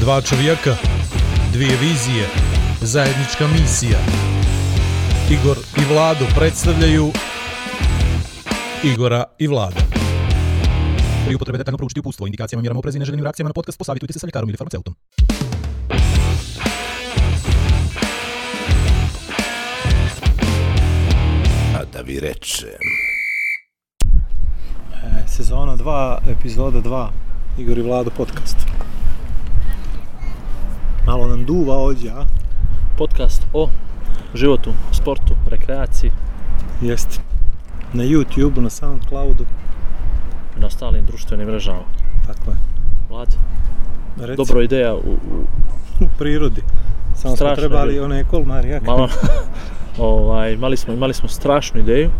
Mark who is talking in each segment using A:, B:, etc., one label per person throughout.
A: Dva čovjeka, dvije vizije, zajednička misija. Igor i Vladu predstavljaju Igora i Vlada. Pri upotrebe detaljno proučiti upustvo, indikacijama, mjerama oprezi i neželjenim reakcijama na podcast posavitujte se sa ljekarom ili farmaceutom.
B: A Pa da vi rečem.
C: E, Sezona 2, epizoda 2, Igor i Vlado podcast. Malo nam duva ovdje, a?
D: podcast o životu, sportu, rekreaciji
C: Jeste. Na YouTube, na Soundcloudu,
D: i na ostalim društvenim mrežama.
C: tako je.
D: Vlad,
C: Reci,
D: dobro ideja u, u
C: u prirodi. Samo smo
D: Strašno
C: trebali
D: je.
C: one kolmar, jak.
D: malo, ovaj, imali smo, imali smo strašnu ideju,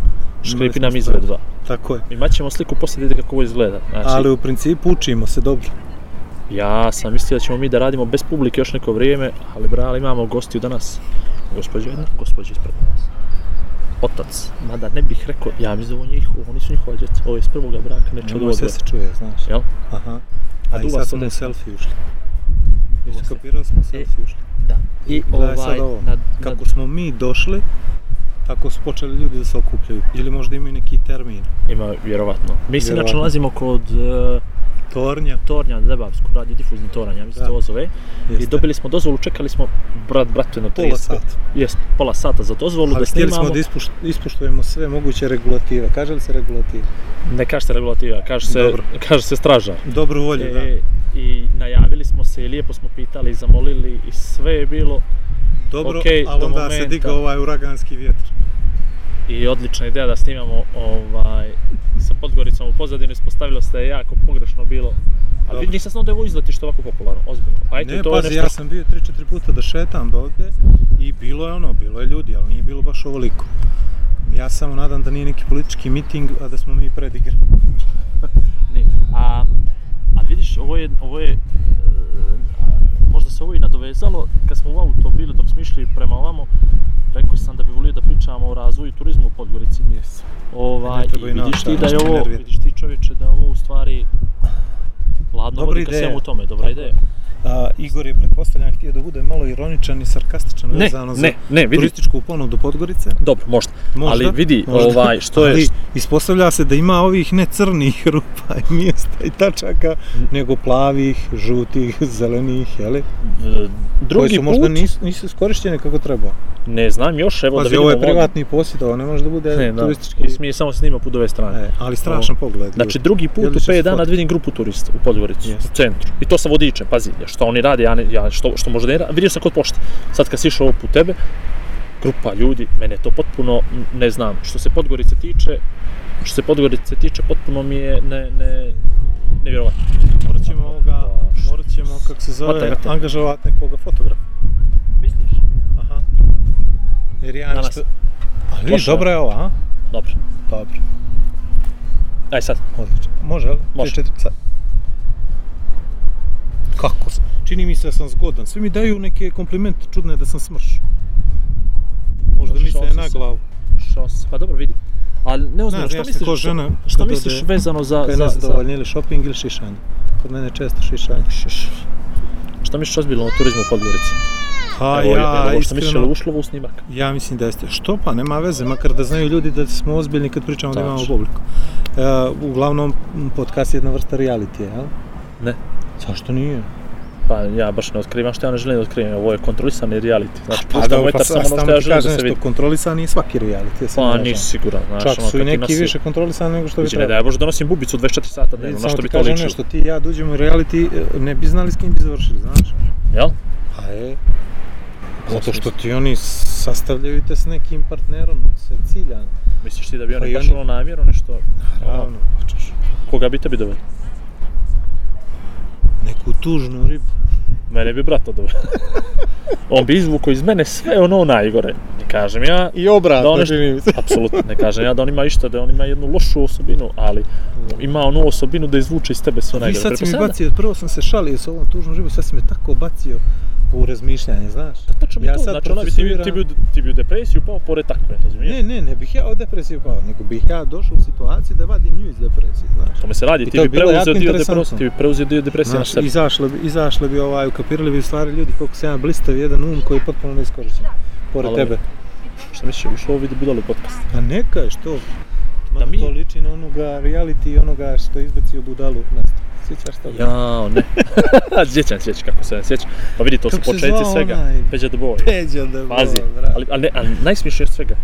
D: škripi
C: smo
D: nam
C: strašnu.
D: izvedba.
C: Tako je.
D: Imaćemo sliku poslije da vidite kako ovo izgleda. Znači,
C: Ali u principu učimo se dobro.
D: ja sam mislio da ćemo mi da radimo bez publike još neko vrijeme, ali brali imamo gostiju danas. Gospođa jedna, gospođa ispred nas. Otac, mada ne bih rekao, ja mislim da ovo njih, oni su njihova djeca, ovo je iz prvoga braka, neče od
C: Čemu se
D: ovoga.
C: se čuje, znaš.
D: Jel?
C: Aha.
D: A
C: A, i
D: duva
C: sad
D: se
C: smo u
D: desi.
C: selfie ušli.
D: Duva se. E,
C: Iskapirali smo u selfie ušli.
D: Da. I
C: Gledaj sad
D: ovaj,
C: ovo.
D: na, na,
C: Kako smo mi došli, tako su počeli ljudi da se okupljaju. Ili možda imaju neki termin.
D: Ima, vjerovatno. Mi se inače
C: Vjerovatno.
D: nalazimo kod e,
C: Tornja.
D: tornja na Debavsku, radio difuzni toranj, ja mislim
C: Da.
D: da. ovo zove. I dobili smo dozvolu, čekali smo brat bratu na 30.
C: pola sata.
D: Jest, pola sata za dozvolu da
C: Ali htjeli
D: snimamo.
C: smo Ono da ispuš, ispuštujemo sve moguće regulative. Kaže li se regulative?
D: Ne kaže se regulativa, kaže se,
C: Dobro.
D: kaže se straža.
C: Dobru volju, e, da.
D: I najavili smo se i lijepo smo pitali, zamolili i sve je bilo
C: Dobro,
D: okej,
C: ali
D: do
C: onda se
D: momenta.
C: digao ovaj uraganski vjetar.
D: i odlična ideja da snimamo ovaj, sa Podgoricom u pozadinu, ispostavilo se da je jako pogrešno bilo. Ali
C: Dobro.
D: vidi, nisam znao da je ovo izletište ovako popularno, ozbiljno. Pa eto,
C: ne,
D: to
C: pazi,
D: je nešto
C: ja sam bio 3-4 puta da šetam do ovde i bilo je ono, bilo je ljudi, ali nije bilo baš ovoliko. Ja samo nadam da nije neki politički miting, a da smo mi predigra.
D: Ne, a, a vidiš, ovo je, ovo je, e, a, možda se ovo i nadovezalo, kad smo u auto bili dok smo išli prema ovamo, rekao sam da bi volio da pričamo o razvoju turizma u Podgorici.
C: Yes.
D: Ovaj,
C: Ne treba
D: i
C: i nas,
D: vidiš ti
C: da,
D: da je
C: nas ne
D: ovo,
C: nervira.
D: vidiš ti čovječe da je ovo u stvari Ladno
C: Dobra
D: vodi ka
C: ideja.
D: svemu tome, dobra
C: Tako.
D: ideja.
C: A, Igor je pretpostavljan htio da bude malo ironičan i sarkastičan vezano za
D: ne,
C: turističku ponudu Podgorice.
D: dobro, možda.
C: Možda,
D: Ali vidi, ovaj, što je-
C: Ali ispostavlja se da ima ovih ne crnih rupa i mjesta i tačaka, nego plavih, žutih, zelenih, jeli?
D: e, Drugi
C: koji su
D: put,
C: možda nisu, nisu iskorištene kako treba.
D: ne znam još, evo
C: Pazi,
D: da vidimo
C: ovo je privatni posjed, ovo ne može da bude
D: Ne, da,
C: turistički.
D: mi samo snimamo put ove strane.
C: E, ali strašan pogled.
D: Znači
C: ljudi.
D: drugi put
C: Jeli
D: u
C: su
D: 5 dana
C: spot?
D: da vidim grupu turista u Podgorici,
C: Jeste.
D: u centru. I to sa vodičem, pazi, što oni rade, ja, ne, ja što, što možda ne ra- Vidio sam kod pošte, sad kad si išao ovo put tebe, grupa ljudi, mene to potpuno m, ne znam. Što se Podgorice tiče, što se Podgorice tiče, potpuno mi je ne, ne, nevjerovatno.
C: morat ćemo ovoga, morat ćemo, kako se zove,
D: Hvataj, hvataj.
C: angažovati nekoga fotografa.
D: Misliš?
C: Aha. Jer ja
D: Danas.
C: nešto... Ali vidiš,
D: Loše.
C: dobro je ovo, a?
D: Dobro,
C: Dobro,
D: aj sad.
C: odlično. Može, ali?
D: Može.
C: Tri, četiri, sad. Kako sam? Čini mi se da sam zgodan. Svi mi daju neke komplimente čudne da sam smrš. Možda
D: Šao
C: misle
D: sam
C: na
D: se.
C: glavu.
D: Što se, pa dobro vidi. Ali ne
C: Ne,
D: ozbiljno, što
C: znaš ti
D: misliš,
C: ko
D: što,
C: žena
D: što
C: kad
D: misliš
C: ode-
D: vezano za,
C: Kaj je
D: za, za,
C: najzadovoljnije, ili shopping ili šišanje? Kod mene je često šišanje.
D: što misliš ozbiljno o turizmu u Podgorici?
C: Ha,
D: Evo,
C: Pa ja,
D: evo, što misliš, je
C: iskreno,
D: li ušlo u snimak?
C: Ja mislim da jeste. Što pa, nema veze, makar da znaju ljudi da smo ozbiljni kad pričamo da imamo
D: Tačno.
C: publiku. E, uglavnom, m, podcast je jedna vrsta reality, jel?
D: Ne.
C: Zašto nije?
D: Pa ja baš ne otkrivam što ja ne želim da otkrivam, ovo je kontrolisani reality. Znači,
C: Pa,
D: puštamo
C: da,
D: etar
C: pa
D: samo
C: sam,
D: ono što ja želim da se vidi.
C: nešto, kontrolisan je svaki reality. ja se ne
D: Pa
C: lažem.
D: nisi siguran, znaš,
C: Čak
D: ono,
C: su
D: kad
C: i
D: ti
C: neki
D: nosi-
C: više kontrolisani nego što bi
D: Viđi, ne
C: trebalo.
D: da ja baš donosim bubicu 24 sata dnevno, na
C: Samo
D: što
C: ti
D: bi to
C: kažem
D: ličilo.
C: nešto, ti i ja dođemo u reality, e, ne bi znali s kim bi završili, znaš?
D: Jel?
C: Pa je. Zato što ti oni sastavljaju te s nekim partnerom, sa ciljan.
D: Misliš ti da bi
C: Pa
D: oni
C: i
D: baš
C: oni-
D: ono namjeru nešto,
C: Naravno, hoćeš.
D: koga bi tebi doveli?
C: Neku tužnu ribu.
D: Mene bi brat doveo. On bi izvukao iz mene sve ono najgore. Ne kažem ja,
C: I obratno,
D: Da, ono što-
C: čini mi se.
D: apsolutno ne kažem ja da on ima išta, da on ima jednu lošu osobinu, ali ima onu osobinu da izvuče iz tebe sve
C: Vi
D: najgore.
C: sad si mi
D: Pretpostavljam da-
C: bacio, prvo sam se šalio s ovom tužnom ribom, sad si me tako bacio u razmišljanje, znaš?
D: Tačno mi
C: Ja
D: to,
C: sad
D: znači, ono, ti, bi, ti, bi, u- ti bi u depresiju pao pored takve, razumiješ?
C: Ne, ne, ne bih ja od depresije pao, nego bih ja došao u situaciju da vadim nju iz depresije, znaš?
D: O tome se radi,
C: I
D: ti
C: to je
D: bi
C: bilo jako
D: preuzeo dio
C: interesantno.
D: depresije, ti bi preuzeo dio depresije na
C: Znaš,
D: sebe.
C: izašle bi, izašle bi ovaj, ukapirali bi u stvari ljudi koliko se jedan blistav, jedan um koji je potpuno neiskorišćen, pored
D: Ali-
C: tebe.
D: Šta misliš, ušlo ovi budali podcast?
C: A neka je što?
D: Da
C: Da
D: mi-
C: mi... To liči na onoga reality i onoga što je izbacio budalu na Sjećaš toga?
D: Jao, ne. sjećam, sjećam, kako se ne sjećam. Pa vidi, to su
C: Kako se
D: početci
C: zvao
D: svega.
C: onaj?
D: Peđa the Boy.
C: Peđa da
D: Pazi, ali, ali, ne, ali najsmišnije od svega,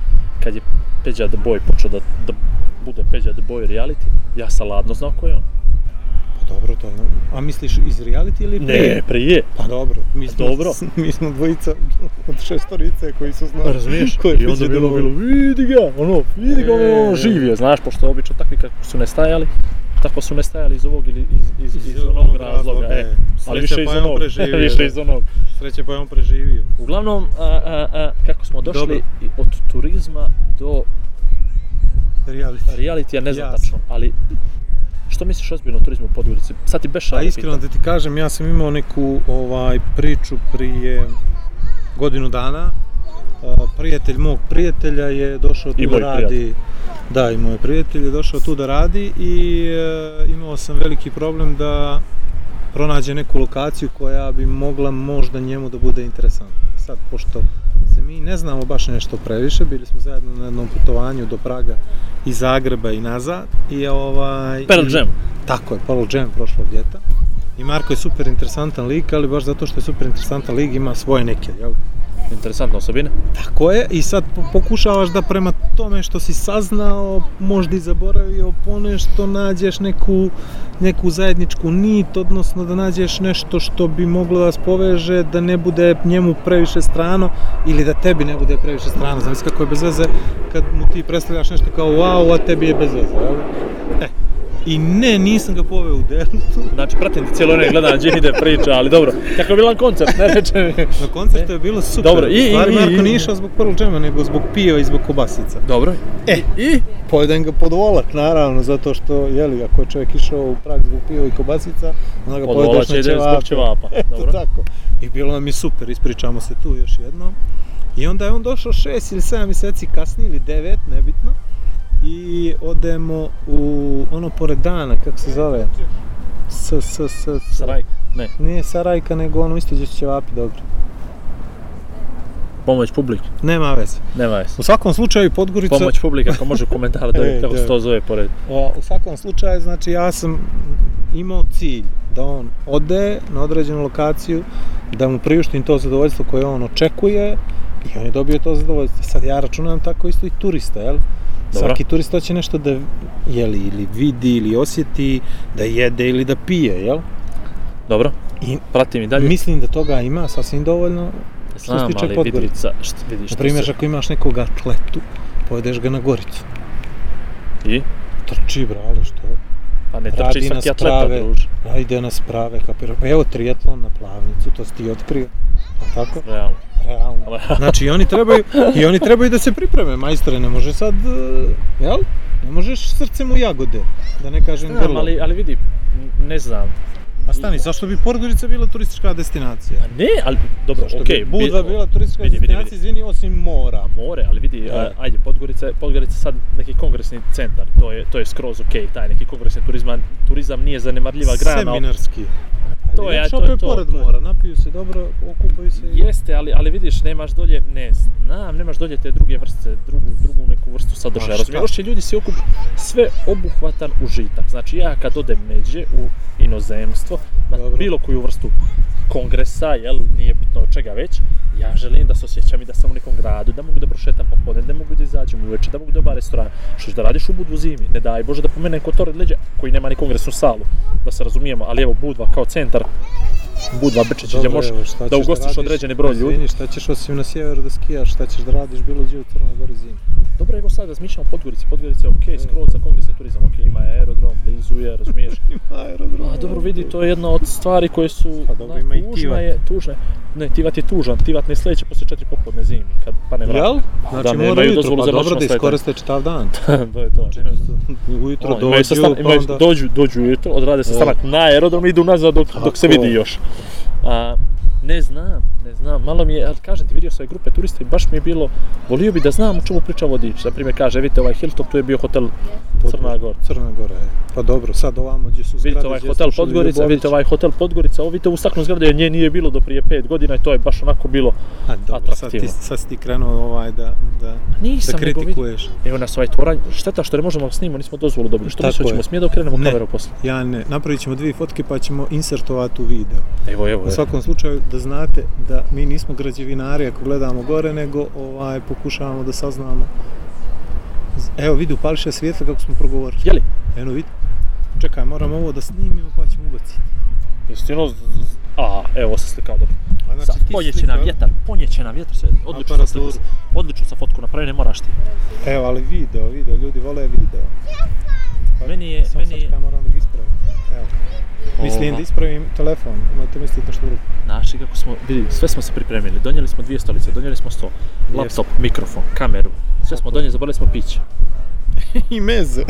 D: kad je Peđa the Boy počeo da, da bude Peđa the Boy reality, ja sam ladno znao ko je on.
C: Pa dobro, to je... A misliš iz reality ili prije?
D: Ne, prije.
C: Pa dobro. Mi smo,
D: Dobro.
C: Mi smo dvojica od šestorice koji su znali.
D: Pa, Razumiješ?
C: Ko je
D: I onda
C: Peđa
D: je bilo,
C: the Boy?
D: bilo, vidi ga, ono, vidi ga,
C: E.
D: ono, živ je, znaš, pošto obično takvi kako su nestajali, tako su nestajali iz ovog ili iz, iz, iz, onog razloga, e. Ali više iz onog, više iz onog.
C: Sreće pa je on preživio.
D: Uglavnom, a, a, a, kako smo došli
C: Dobro.
D: i od turizma do
C: Reality.
D: reality, ja ne znam
C: Jasno.
D: tačno, ali što misliš ozbiljno o turizmu u Podgorici? Sad ti beša
C: A iskreno da ti kažem, ja sam imao neku ovaj priču prije godinu dana. A, Prijatelj mog prijatelja je došao tu
D: I
C: da
D: moj
C: radi. Da, i moj prijatelj je došao tu da radi i e, imao sam veliki problem da pronađe neku lokaciju koja bi mogla možda njemu da bude interesantna. E Sad, pošto se mi ne znamo baš nešto previše, bili smo zajedno na jednom putovanju do Praga i Zagreba i nazad i ovaj...
D: Pearl
C: i-
D: Jam.
C: Tako je, Pearl Jam prošlog ljeta. I Marko je super interesantan lik, ali baš zato što je super interesantan lik ima svoje neke, jel?
D: Interesantna osobina.
C: Tako je, i sad po- pokušavaš da prema tome što si saznao, možda i zaboravio ponešto, nađeš neku, neku zajedničku nit, odnosno da nađeš nešto što bi moglo da vas poveže, da ne bude njemu previše strano ili da tebi ne bude previše strano. Znaš kako je bez veze kad mu ti predstavljaš nešto kao wow, a tebi je bez veze, jel? E, I ne, nisam ga poveo u Deltu.
D: Znači, pratim ti cijelo vrijeme, gledam gdje ide priča, ali dobro. Kako je bilan koncert, ne reče mi.
C: Na koncertu je bilo super.
D: Dobro, i-
C: U stvari,
D: i- i-
C: Marko
D: i-
C: nije išao zbog Pearl Jama, nego zbog piva i zbog kobasica.
D: Dobro.
C: E,
D: I?
C: Pojeden ga pod volat, naravno, zato što, jeli, ako je čovjek išao u Prag zbog piva i kobasica, onda ga
D: Pod
C: pojedeš
D: volače
C: na
D: ide
C: ćevape.
D: zbog ćevapa.
C: Eto,
D: Dobro.
C: tako. I bilo nam je super, ispričamo se tu još jednom. I onda je on došao šest ili sedam mjeseci kasnije, ili devet, nebitno. I odemo u ono pored dana, kako se zove? S, s, s, s.
D: Saraj. Ne,
C: Nije Sarajka, nego ono isto gdje su ćevapi, dobro.
D: pomoć publike.
C: Nema veze.
D: Nema jes.
C: U svakom slučaju Podgorica...
D: Pomoć publike, ako može komentar da
C: E,
D: kako se
C: da.
D: to zove pored.
C: O, u svakom slučaju, znači ja sam imao cilj da on ode na određenu lokaciju, da mu priuštim to zadovoljstvo koje on očekuje i on je dobio to zadovoljstvo. Sad ja računam tako isto i turista, jel?
D: Dobro.
C: Svaki turista hoće nešto da jeli, ili vidi ili osjeti, da jede ili da pije, jel?
D: Dobro.
C: I
D: Pratim i dalje.
C: mislim da toga ima sasvim dovoljno. što se
D: Znam,
C: tiče
D: ali vidi,
C: Podgorice.
D: sa, što, vidi,
C: Na
D: što
C: primjer,
D: se...
C: ako imaš nekog atletu, povedeš ga na goricu.
D: I?
C: Trči, brale, što?
D: Pa ne trči
C: radi na
D: svaki atleta,
C: sprave,
D: druže.
C: a ide na sprave, kapiraš. Pa Evo triatlon na plavnicu, to si ti otkrio. Pa tako?
D: Realno.
C: Realno. Znači i oni trebaju, i oni trebaju da se pripreme, majstore, ne može sad, eh, jel? Ne možeš srcem u jagode, da ne kažem
D: Znam,
C: grlo.
D: ali, ali vidi, n- ne znam.
C: A stani, zašto bi Podgorica bila turistička destinacija?
D: Pa ne, ali dobro,
C: Zašto
D: okej.
C: bi
D: bi-
C: Budva bila turistička
D: vidi, vidi,
C: destinacija, izvini, osim mora.
D: A more, ali vidi,
C: Da.
D: a, ajde, Podgorica, je- Podgorica je sad neki kongresni centar, to je, to je skroz okej, taj neki kongresni turizma, turizam nije zanemarljiva grana.
C: Seminarski.
D: To je,
C: Vidiš,
D: to je
C: opet
D: to,
C: pored
D: to je.
C: mora, napiju se dobro, okupaju se. i-
D: Jeste, ali, ali vidiš, nemaš dolje, ne znam, nemaš dolje te druge vrste, drugu, drugu neku vrstu sadržaja.
C: A
D: Razumiješ,
C: šta?
D: Još će ljudi se okup sve obuhvatan užitak. Znači ja kad odem međe u inozemstvo, na
C: Dobro.
D: bilo koju vrstu kongresa, jel, nije bitno od čega već, ja želim da se osjećam i da sam u nekom gradu, da mogu da prošetam popodne, da mogu da izađem uveče, da mogu da bar restoran. Što ću da radiš u Budvu zimi, ne daj Bože da pomenem kotor leđa koji nema ni kongresnu salu, da se razumijemo, ali evo Budva kao centar, Budva Brčeći gdje
C: Dobro,
D: možeš
C: evo, šta
D: da
C: ćeš
D: ugostiš
C: radiš?
D: određeni broj ljudi.
C: Izvini, šta ćeš osim na sjeveru da skijaš, šta ćeš da radiš bilo gdje u Crnoj Gori zimi?
D: Dobro, evo sad razmišljamo o Podgorici. Podgorica je okej, skroz za kongresni turizam, okej, ima je aerodrom, blizu je, razumiješ?
C: Aerodrom.
D: A Pa, dobro, vidi, to je jedna od stvari koje su...
C: Pa dobro,
D: na-
C: ima i
D: Tužna
C: Tivat.
D: je, tužna je. Ne, Tivat je tužan, Tivat ne sleće posle četiri popodne zimi, kad pane vrat.
C: Jel?
D: Pa,
C: Znači,
D: da,
C: mora
D: nemaju
C: jutro,
D: dozvolu
C: pa
D: za
C: dobro
D: noćno
C: da
D: sletanje.
C: iskoriste čitav dan.
D: to je to.
C: Ujutro
D: Ono,
C: dođu,
D: imaju sastan, imaju,
C: pa onda...
D: dođu, dođu ujutro, odrade se stanak na aerodrom i idu nazad dok, dok se
C: Tako.
D: vidi još. A, Ne znam, ne znam, malo mi je, ali kažem ti, vidio sam ove grupe turista i baš mi je bilo, volio bi da znam o čemu priča vodič. Na primjer, kaže, vidite ovaj Hilltop, tu je bio hotel Crna Gora.
C: Crna Gora je. Pa dobro, sad ovamo gdje su zgrade.
D: Vidite ovaj
C: gdje
D: hotel
C: slušali
D: Podgorica,
C: Ljubović.
D: vidite ovaj hotel Podgorica, ovo vidite ovu staknu zgradu, jer nje nije bilo do prije pet godina i to je baš onako bilo
C: A dobro, sad ti,
D: ovaj atraktivno.
C: sad si ti krenuo ovaj da, da, da
D: Nisam nego vidio.
C: kritikuješ.
D: Evo nas ovaj toranj, šteta što ne možemo snimati, nismo dozvolu dobili. Što
C: Tako
D: misliš,
C: je.
D: ćemo smije da okrenemo
C: Ne.
D: kameru posle?
C: Ja ne, napravit ćemo dvije fotke pa ćemo insertovati u video.
D: Evo, evo,
C: U
D: evo.
C: svakom slučaju da znate da mi nismo građevinari ako gledamo gore, nego ovaj pokušavamo da saznamo. Z- Evo vidi upališe svijetla kako smo progovorili.
D: Jeli?
C: Eno vidi. Čekaj, moram ovo da snimimo pa ćemo ubaciti.
D: Jesi ti ono... z- z- A, evo se slikao dobro.
C: A znači,
D: Sad, ponjeće nam vjetar, ponjeće nam vjetar, sve, odlično sam sliku,
C: Aparaturu.
D: odlično sam fotku napravio, ne moraš ti.
C: Evo, ali video, video, ljudi vole video. Pa,
D: Meni je-
C: samo
D: E, meni je-
C: sad ja moram da ga ispravim. Evo. Mislim da ispravim telefon, imate mislite nešto drugo.
D: Znači kako smo, vidi, sve smo se pripremili, donijeli smo dvije stolice, donijeli smo sto, laptop, mikrofon, kameru, sve smo donijeli, zaboravili smo piće.
C: I meze.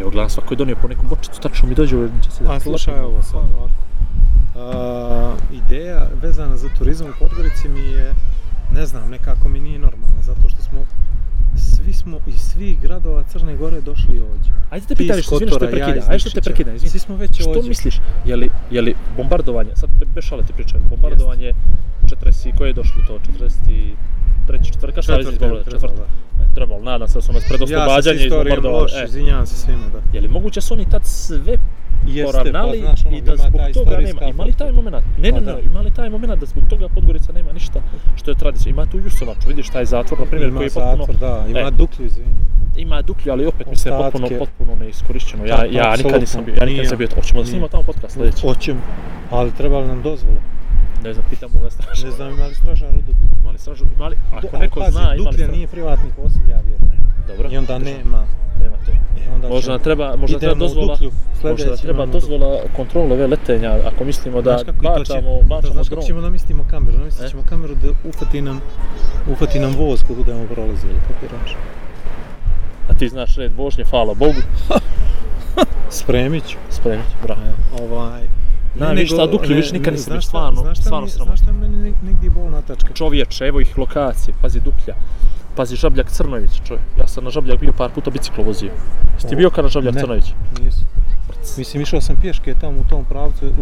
D: Evo gledam, svako je donio po nekom bočicu, tačno mi dođe u će se
C: A Pa, slušaj ovo sad ovako. A, ideja vezana za turizam u Podgorici mi je, ne znam, nekako mi nije normalna, zato što smo svi smo iz svih gradova Crne Gore došli ovdje.
D: Ajde te pitam
C: Ti iz
D: nešto, izvini što
C: Kotora,
D: te
C: ja
D: prekidam,
C: iz
D: ajde što te
C: Nikšića.
D: prekidam, izvini.
C: Svi smo već
D: Što
C: ovdje.
D: misliš, je li, je li bombardovanje, sad be- bez šale ti pričam, bombardovanje 40, koje je došlo to, 43. četvrka, šta
C: Četvrta,
D: je izbombardovanje,
C: trebalo,
D: četvrta. E, trebalo, nadam se da su nas pred
C: Ja sam s
D: oslobađanje
C: istorijom
D: izbombardovali.
C: loš, izvinjavam se svima, da.
D: E, je li moguće su oni tad sve poravnali
C: pa, znaš, ono,
D: i da
C: ima
D: zbog
C: ta
D: toga nema,
C: istorijska
D: ima li taj moment, ne,
C: Pa
D: ne,
C: da.
D: ne, ima li taj moment da zbog toga Podgorica nema ništa što je tradicija, ima tu Jusovaču, vidiš taj zatvor, na primjer,
C: Ima
D: koji je potpuno,
C: zatvor, da, ima
D: E.
C: duklju, izvini.
D: ima duklju, ali opet mislim da je potpuno,
C: Ostatke.
D: potpuno neiskorišćeno, ja,
C: Da,
D: ja nikad
C: apsolutno.
D: nisam bio, ja nikad
C: Nije.
D: nisam bio, hoćemo da
C: Nije.
D: snimamo tamo podcast sljedeći,
C: Hoćemo, ali treba li nam dozvola?
D: ne znam, pitamo ga strašno,
C: Ne znam, ima li stražar u duplju?
D: imali stražu, imali, ako
C: Ali
D: neko
C: pazi,
D: zna, imali
C: duplja
D: stražu,
C: nije privatni posjed, ja vjerujem.
D: dobro,
C: I onda
D: Država,
C: nema.
D: nema to,
C: I onda
D: možda
C: ćemo-
D: nam treba, možda nam
C: Znači, idemo
D: treba
C: u
D: dozvola,
C: Duklju,
D: možda nam
C: sljedeći
D: treba
C: imamo
D: dozvola kontrole ove letenja, ako mislimo da
C: Znaš kako, i to će-
D: bačamo,
C: to,
D: bačamo
C: znaš kako
D: dron,
C: ćemo namistimo kameru,
D: E?
C: namistit ćemo kameru da uhvati nam, uhvati nam voz kako da imamo prolazili, kapiraš?
D: a ti znaš red vožnje, hvala Bogu,
C: Spremit ću.
D: spremit, bravo.
C: E, ovaj, ne,
D: Na, vidiš
C: nego-
D: šta, Duklju
C: ne,
D: više nikad
C: ne,
D: nisam
C: znaš
D: bio,
C: šta-
D: stvarno,
C: znaš šta
D: stvarno
C: mi-
D: sramotno.
C: Znaš šta meni neg- negdje bolna tačka?
D: čovječe, evo ih lokacije, pazi Duklja, pazi Žabljak Crnović, čovjek. Ja sam na Žabljak bio par puta biciklo vozio. Jesi ti
C: O,
D: bio kad na Žabljak
C: ne.
D: Crnović?
C: Nisam. Mislim, išao sam pješke tamo u tom pravcu,
D: Nije to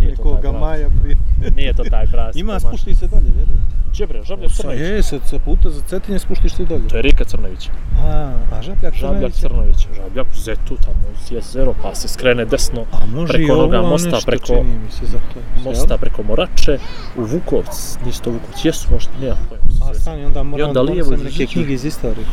D: taj
C: nekoga
D: pravac.
C: maja prije.
D: Nije to taj pravac.
C: Ima, spušti se dalje, vjerujem.
D: Đebre, Žabljak Crnović.
C: Je, sa, sa puta za Cetinje spuštiš se dalje.
D: To je Rika Crnović.
C: A, a Žabljak
D: Žabljak
C: Crnović je-
D: Crnović. Žabljak u Zetu, tamo uz jezero, pa se skrene desno.
C: A može
D: preko
C: i ovo
D: onoga
C: ono
D: mosta,
C: što
D: preko
C: čini mi se za to.
D: Mosta preko Morače, u Vukovc, nisu to Vukovc, jesu možda, nema pojma.
C: A stani, onda
D: I
C: moram
D: onda
C: onda
D: lijevo
C: lijevo
D: iz
C: neke
D: Žičke.
C: knjige iz istorije.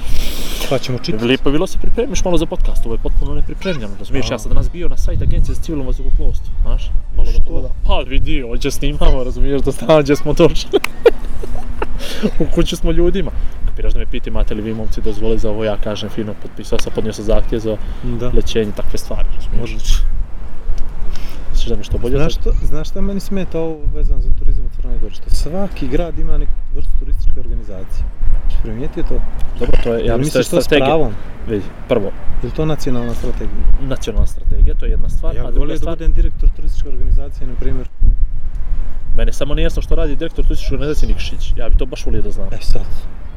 C: Pa ćemo čitati.
D: Lijepo je bilo se pripremiš malo za podcast, ovo je potpuno nepripremljeno, razumiješ? Ja sam danas bio na sajt agencije za civilno vazduhoplovstvo, znaš? Malo da
C: Što?
D: pogledam. Pa vidi, ovdje snimamo, razumiješ, da znam gdje smo došli. U kući smo ljudima. Kapiraš da me piti, imate li vi momci dozvole za ovo, ja kažem fino, potpisao sam, podnio sam zahtje za
C: Da.
D: lećenje, takve stvari, razumiješ?
C: Možeš.
D: Misliš da mi što bolje?
C: Znaš, što, znaš šta meni smeta ovo vezano za turizam u Crnoj Gori? Što svaki grad ima neku vrstu turističke organizacije. Jesi primijetio to?
D: Dobro, to je, ja
C: Jel
D: mislim da je
C: misliš to s
D: strategija.
C: pravom?
D: Vidi, prvo,
C: Ili to nacionalna strategija?
D: nacionalna strategija, to je jedna stvar,
C: Ja
D: a
C: bih volio
D: Pa, druga
C: da
D: stvar,
C: budem direktor turističke organizacije, na primjer.
D: mene samo nije jasno što radi direktor turističke organizacije Nikšić, ja bi to baš volio da znam.
C: E sad,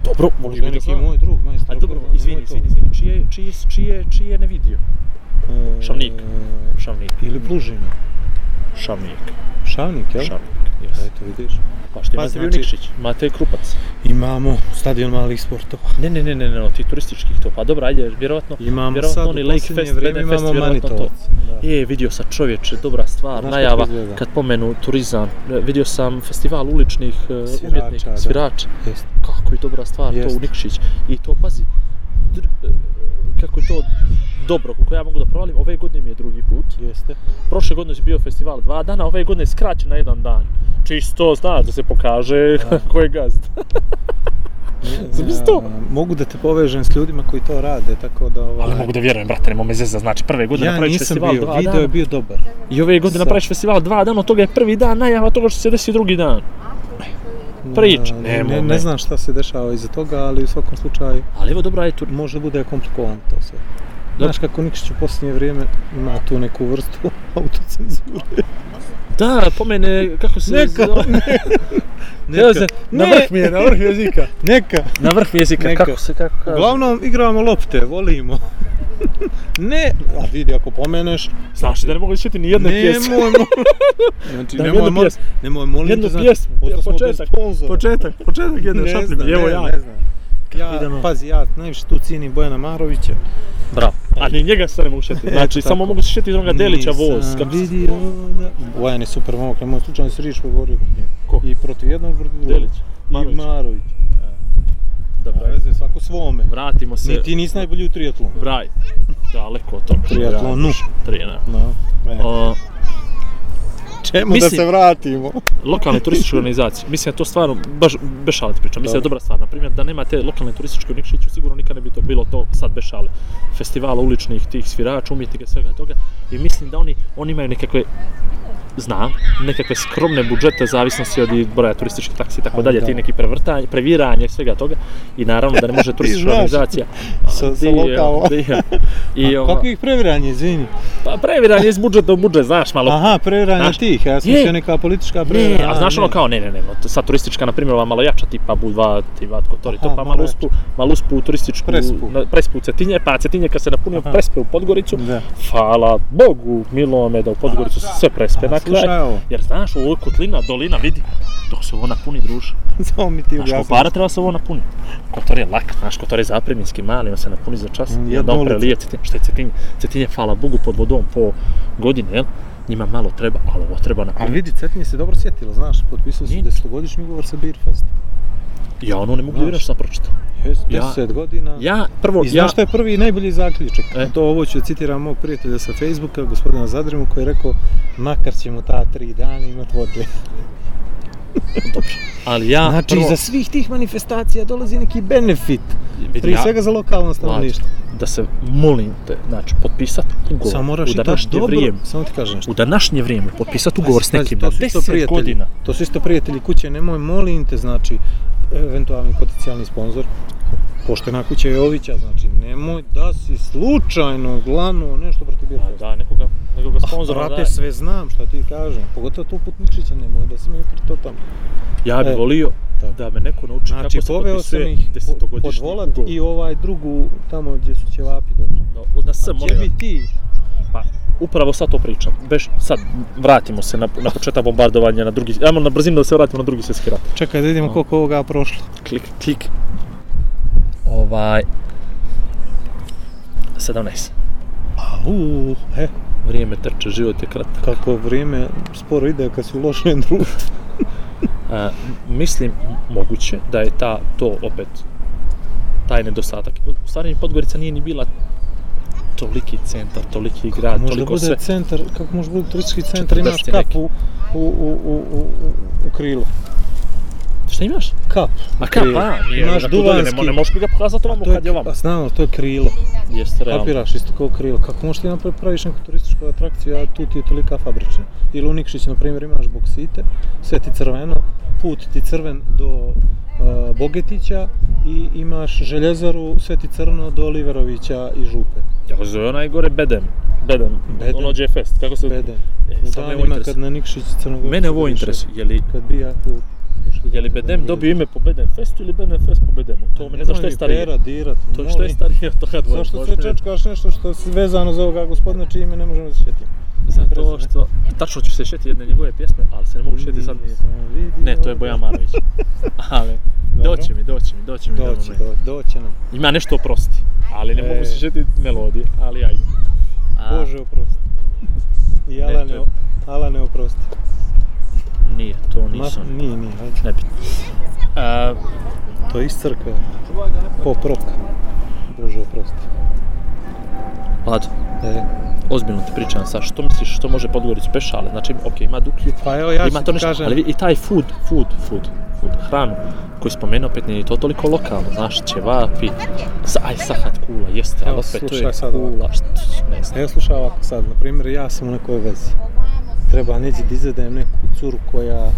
D: Dobro, volio
C: možda
D: bi da
C: neki
D: znam.
C: moj drug, majstor.
D: Ali dobro,
C: organizuje
D: izvini,
C: to.
D: izvini, izvini, čije, čije, čije, čije ne vidio?
C: E,
D: Šavnik. Šavnik.
C: Ili Plužina.
D: Šavnik.
C: Šavnik, jel? E.
D: Šavnik, jes.
C: Eto, vidiš.
D: Pa što
C: Pa,
D: imate znači...
C: znači-
D: Nikšić, imate Krupac.
C: Imamo stadion malih sportova.
D: Ne, ne, ne, ne, ne, ti turističkih to, pa dobro, ajde, vjerovatno,
C: Imamo
D: vjerovatno
C: sad
D: oni
C: u
D: Lake
C: posljednje
D: Fest,
C: vrijeme
D: Bene Fest,
C: imamo
D: vjerovatno to.
C: Manitovac. Da.
D: E, vidio sam čovječe, dobra stvar,
C: Znaš kako
D: najava,
C: izgleda?
D: kad pomenu turizam, e, vidio sam festival uličnih e,
C: Svirača,
D: umjetnika,
C: da.
D: svirača,
C: Jeste.
D: kako je dobra stvar to
C: Jeste.
D: u Nikšić. I to, pazi, dr, e, kako je to dobro, kako ja mogu da provalim, ove godine mi je drugi put.
C: Jeste.
D: Prošle godine je bio festival dva dana, ove godine je skraćen na jedan dan. Čisto, znaš, da se pokaže ko je gazd. Zamisli to.
C: Ja, Mogu da te povežem s ljudima koji to rade, tako da ovaj...
D: Ali mogu da vjerujem, brate, nemoj me zezat. Znači, prve godine
C: Ja
D: napraviš
C: nisam
D: festival
C: bio,
D: dva
C: video
D: dana.
C: je bio dobar.
D: I ove godine
C: Sad.
D: napraviš festival dva dana, od toga je prvi dan najava toga što se desi drugi dan. Priča,
C: Ne,
D: nemoj
C: ne,
D: me.
C: ne znam šta se dešava iza toga, ali u svakom slučaju
D: Ali evo, dobra je tur.
C: može da bude komplikovan to sve. Znaš kako Nikšić u posljednje vrijeme ima tu neku vrstu autocenzure.
D: Da, pomene, kako se...
C: Neka,
D: zove? Evo se,
C: Na vrh mi je, na vrh jezika. Neka.
D: na vrh jezika,
C: Neka.
D: kako se, kako kaže.
C: Uglavnom igramo lopte, volimo. ne, a vidi ako pomeneš,
D: Znaš da ne mogu čuti ni jedne pjesme.
C: nemojmo. Znači,
D: Da,
C: nemoj,
D: jednu
C: mo,
D: pjesmu.
C: nemoj, molim
D: Jednu
C: te, znači,
D: pjesmu,
C: pošto smo bez
D: početak,
C: sponzora.
D: Početak, početak jedne
C: Ne
D: šaplje,
C: znam,
D: evo
C: ne,
D: ja.
C: Ne znam. Ja,
D: idemo?
C: pazi, ja najviše tu cijenim Bojana Marovića.
D: Bravo. A ni njega se ne mogu šetiti. Znači,
C: Eto
D: samo
C: E, tako.
D: mogu se šetiti iz onoga Delića voz.
C: Nisam
D: Kako se-
C: vidio da... Bojan je super momak, nemoj slučajno se riječ govorio kod njega.
D: Ko?
C: I protiv jednog, protiv drugog.
D: Delić,
C: I
D: Marović.
C: Marović.
D: Dobro. ajde.
C: Veze svako svome.
D: Vratimo se.
C: Ni ti nisi najbolji u triatlonu.
D: Vraj. Daleko od toga.
C: Triatlonu.
D: Trijena.
C: No. e.
D: O,
C: Čemu
D: mislim-
C: vratimo?
D: lokalne turističke organizacije, mislim da to stvarno, baš bez šale ti pričam, mislim da je dobra stvar. Na primjer, da nema te lokalne turističke u Nikšiću, sigurno nikad ne bi to bilo to sad bez šale. Festivala uličnih tih svirača, umjetnika, svega toga. I mislim da oni, oni imaju nekakve znam, nekakve skromne budžete zavisnosti od i broja turističkih taksi i tako dalje,
C: da.
D: ti neki prevrtanje, previranje svega toga i naravno da ne može turistička
C: znaš.
D: organizacija.
C: Sa-
D: A,
C: sa
D: di,
C: lokalno.
D: di, I, ova,
C: Kako ih previranje, izvini?
D: pa previranje iz budžeta u budžet, znaš, malo
C: Aha, previranje
D: Znaš-
C: tih, ja sam
D: Je.
C: mislio neka politička
D: Ne,
C: previranje.
D: a znaš ono kao, ne, ne, ne, no, to- sad turistička, na primjer, ova malo jača, tipa Budva, Tivatko, to i to,
C: Aha,
D: pa
C: malo
D: malo uspu, malo uspu u turističku,
C: Prespu.
D: na, prespu u Cetinje, pa Cetinje kad se napunio
C: Aha.
D: prespe u Podgoricu,
C: Da.
D: hvala Bogu, milo me da u Podgoricu se sve prespe
C: A,
D: na
C: slušaj
D: kraj.
C: ovo.
D: Jer znaš, ovo je kotlina, dolina, vidi, dok se ovo napuni, druže.
C: Samo mi ti
D: Znaš, ko
C: objasni.
D: para treba se ovo napuniti. Kotor je lak, znaš, Kotor je zapreminski mali, on se napuni za čas,
C: Mm,
D: i
C: jedno
D: onda on
C: ulica.
D: prelije Cetinje, što je Cetinje, Cetinje, hvala Bogu, pod vodom po godine, jel? Njima malo treba, ali ovo treba
C: A
D: napuniti.
C: vidi, Cetinje se dobro sjetila, znaš, potpisao su
D: Nije.
C: desetogodišnji ugovor sa Beerfest.
D: Ja ono ne mogu da
C: Znaš.
D: vjerujem što sam pročitao. Ja-
C: 10 godina.
D: Ja, prvo,
C: I
D: ja...
C: znaš što je prvi i najbolji zaključak?
D: E?
C: To ovo ću citiram mog prijatelja sa Facebooka, gospodina Zadrimu, koji je rekao makar ćemo ta tri dana imat vode.
D: Ali ja,
C: Znači,
D: prvo,
C: iza svih tih manifestacija dolazi neki benefit.
D: vidi,
C: Prije
D: ja-
C: svega za lokalno
D: Mlađe,
C: stanovništvo.
D: da se molim te, znači, potpisat ugovor
C: Samo moraš
D: u
C: i to
D: današnje
C: dobro.
D: vrijeme.
C: Samo ti kažem nešto.
D: U današnje vrijeme potpisat ugovor s
C: Pazi, pazi,
D: nekim
C: to
D: na
C: su isto
D: 10
C: prijatelji.
D: godina.
C: To su isto prijatelji kuće, nemoj, molim te, znači, eventualni potencijalni sponzor, poštena kuća Jovića, znači, nemoj da si slučajno glanuo nešto protiv
D: A,
C: Birfesta.
D: da, nekoga, nekoga
C: Pa,
D: sponzora
C: Brate,
D: daje.
C: sve znam šta ti kažem, pogotovo tu put Nikšića nemoj da si mi ukrto tamo.
D: Ja bih
C: E,
D: volio
C: tako.
D: da me neko nauči
C: Znači,
D: kako se
C: poveo sam
D: potpisuje
C: ih po- pod
D: desetogodišnji
C: volat
D: ugovor.
C: i ovaj drugu tamo gdje su ćevapi dobro.
D: No, na sve,
C: Gdje
D: molim
C: bi
D: vas.
C: ti?
D: Upravo sad to pričam. Beš, sad vratimo se na, na početak bombardovanja, na drugi... Ajmo na brzinu da se vratimo na drugi svjetski rat.
C: Čekaj da vidimo koliko ovoga je prošlo.
D: klik, klik. Ovaj... 17.
C: Au, e,
D: Vrijeme trče, život je kratak.
C: kako vrijeme sporo ide kad si u lošem društvu.
D: A, mislim, moguće da je ta, to opet, taj nedostatak. U stvari, Podgorica nije ni bila toliki centar, toliki grad,
C: Možda
D: toliko
C: bude
D: sve.
C: centar, kako može biti turistički centar, imaš
D: 40
C: kap
D: neki.
C: u, u, u, u, u, u krilu.
D: Šta imaš?
C: Kap.
D: Ma kap,
C: Krilo.
D: a, nije, dakle,
C: Imaš
D: na tu dolje, ne, mo-
C: duvanski.
D: ne možeš mi ga pokazati ovamo kad je ovamo.
C: a znamo, to je krilo.
D: Jeste, realno.
C: Kapiraš isto kao krilo. Kako možeš ti napraviti praviš neku turističku atrakciju, a tu ti je tolika fabrična. Ili u Nikšić, na primjer, imaš boksite, sve ti crveno, put ti crven do uh, Bogetića i imaš željezaru, sve ti crno do Oliverovića i Župe.
D: Ja ga zove onaj gore Bedem. Bedem.
C: Bedem?
D: Ono je fest, kako se...
C: Bede.
D: E,
C: U
D: sad me ovo
C: danima kad
D: interesuje.
C: na Nikšić Crnogorcu...
D: Mene ovo interesuje, je li
C: Kad bi ja tu...
D: Je li Bedem dobio ime po Bedem Festu ili Bedem Fest po Bedemu? To mi ne znam što je starije.
C: Pera, dirat,
D: To što je starije od toga dvoje.
C: Zašto
D: možeš
C: se
D: mi reći?
C: čačkaš nešto što je vezano za ovoga gospodina čije ime ne možemo da se sjetiti?
D: Zato što... Tačno ću se šetiti jedne njegove pjesme, ali se ne mogu šetiti sad. Ne, to je Bojan Marović. Ali,
C: Dobro.
D: doći mi, doći mi, doći mi.
C: Doći,
D: do...
C: do, doći nam.
D: Ima nešto oprosti, ali ne
C: E.
D: mogu se šetiti melodije, ali ajde. A,
C: Bože oprosti. I Alane,
D: to je-
C: Alane oprosti.
D: Nije, to
C: Ma,
D: nisam.
C: nije, nije, ajde.
D: Nebitno. E, A,
C: To je iz crkve. Pop rock. Bože oprosti.
D: Vlad,
C: E,
D: ozbiljno ti pričam, sa što misliš, što može Podgoricu pešale? Znači, okej, ima Duklju,
C: pa evo ja
D: ima
C: ću ti
D: to nešto,
C: kažem.
D: ali vidi, i taj food, food, food, food, hranu koju spomenuo opet nije to toliko lokalno, znaš, ćevapi, sa, aj sahat kula, jeste, ali
C: Evo,
D: opet to
C: slušaj
D: je
C: sad ovako.
D: kula, šta, ne znam.
C: E, Evo slušaj ovako sad, na primjer ja sam u nekoj vezi. Treba neđe da izvedem neku curu koja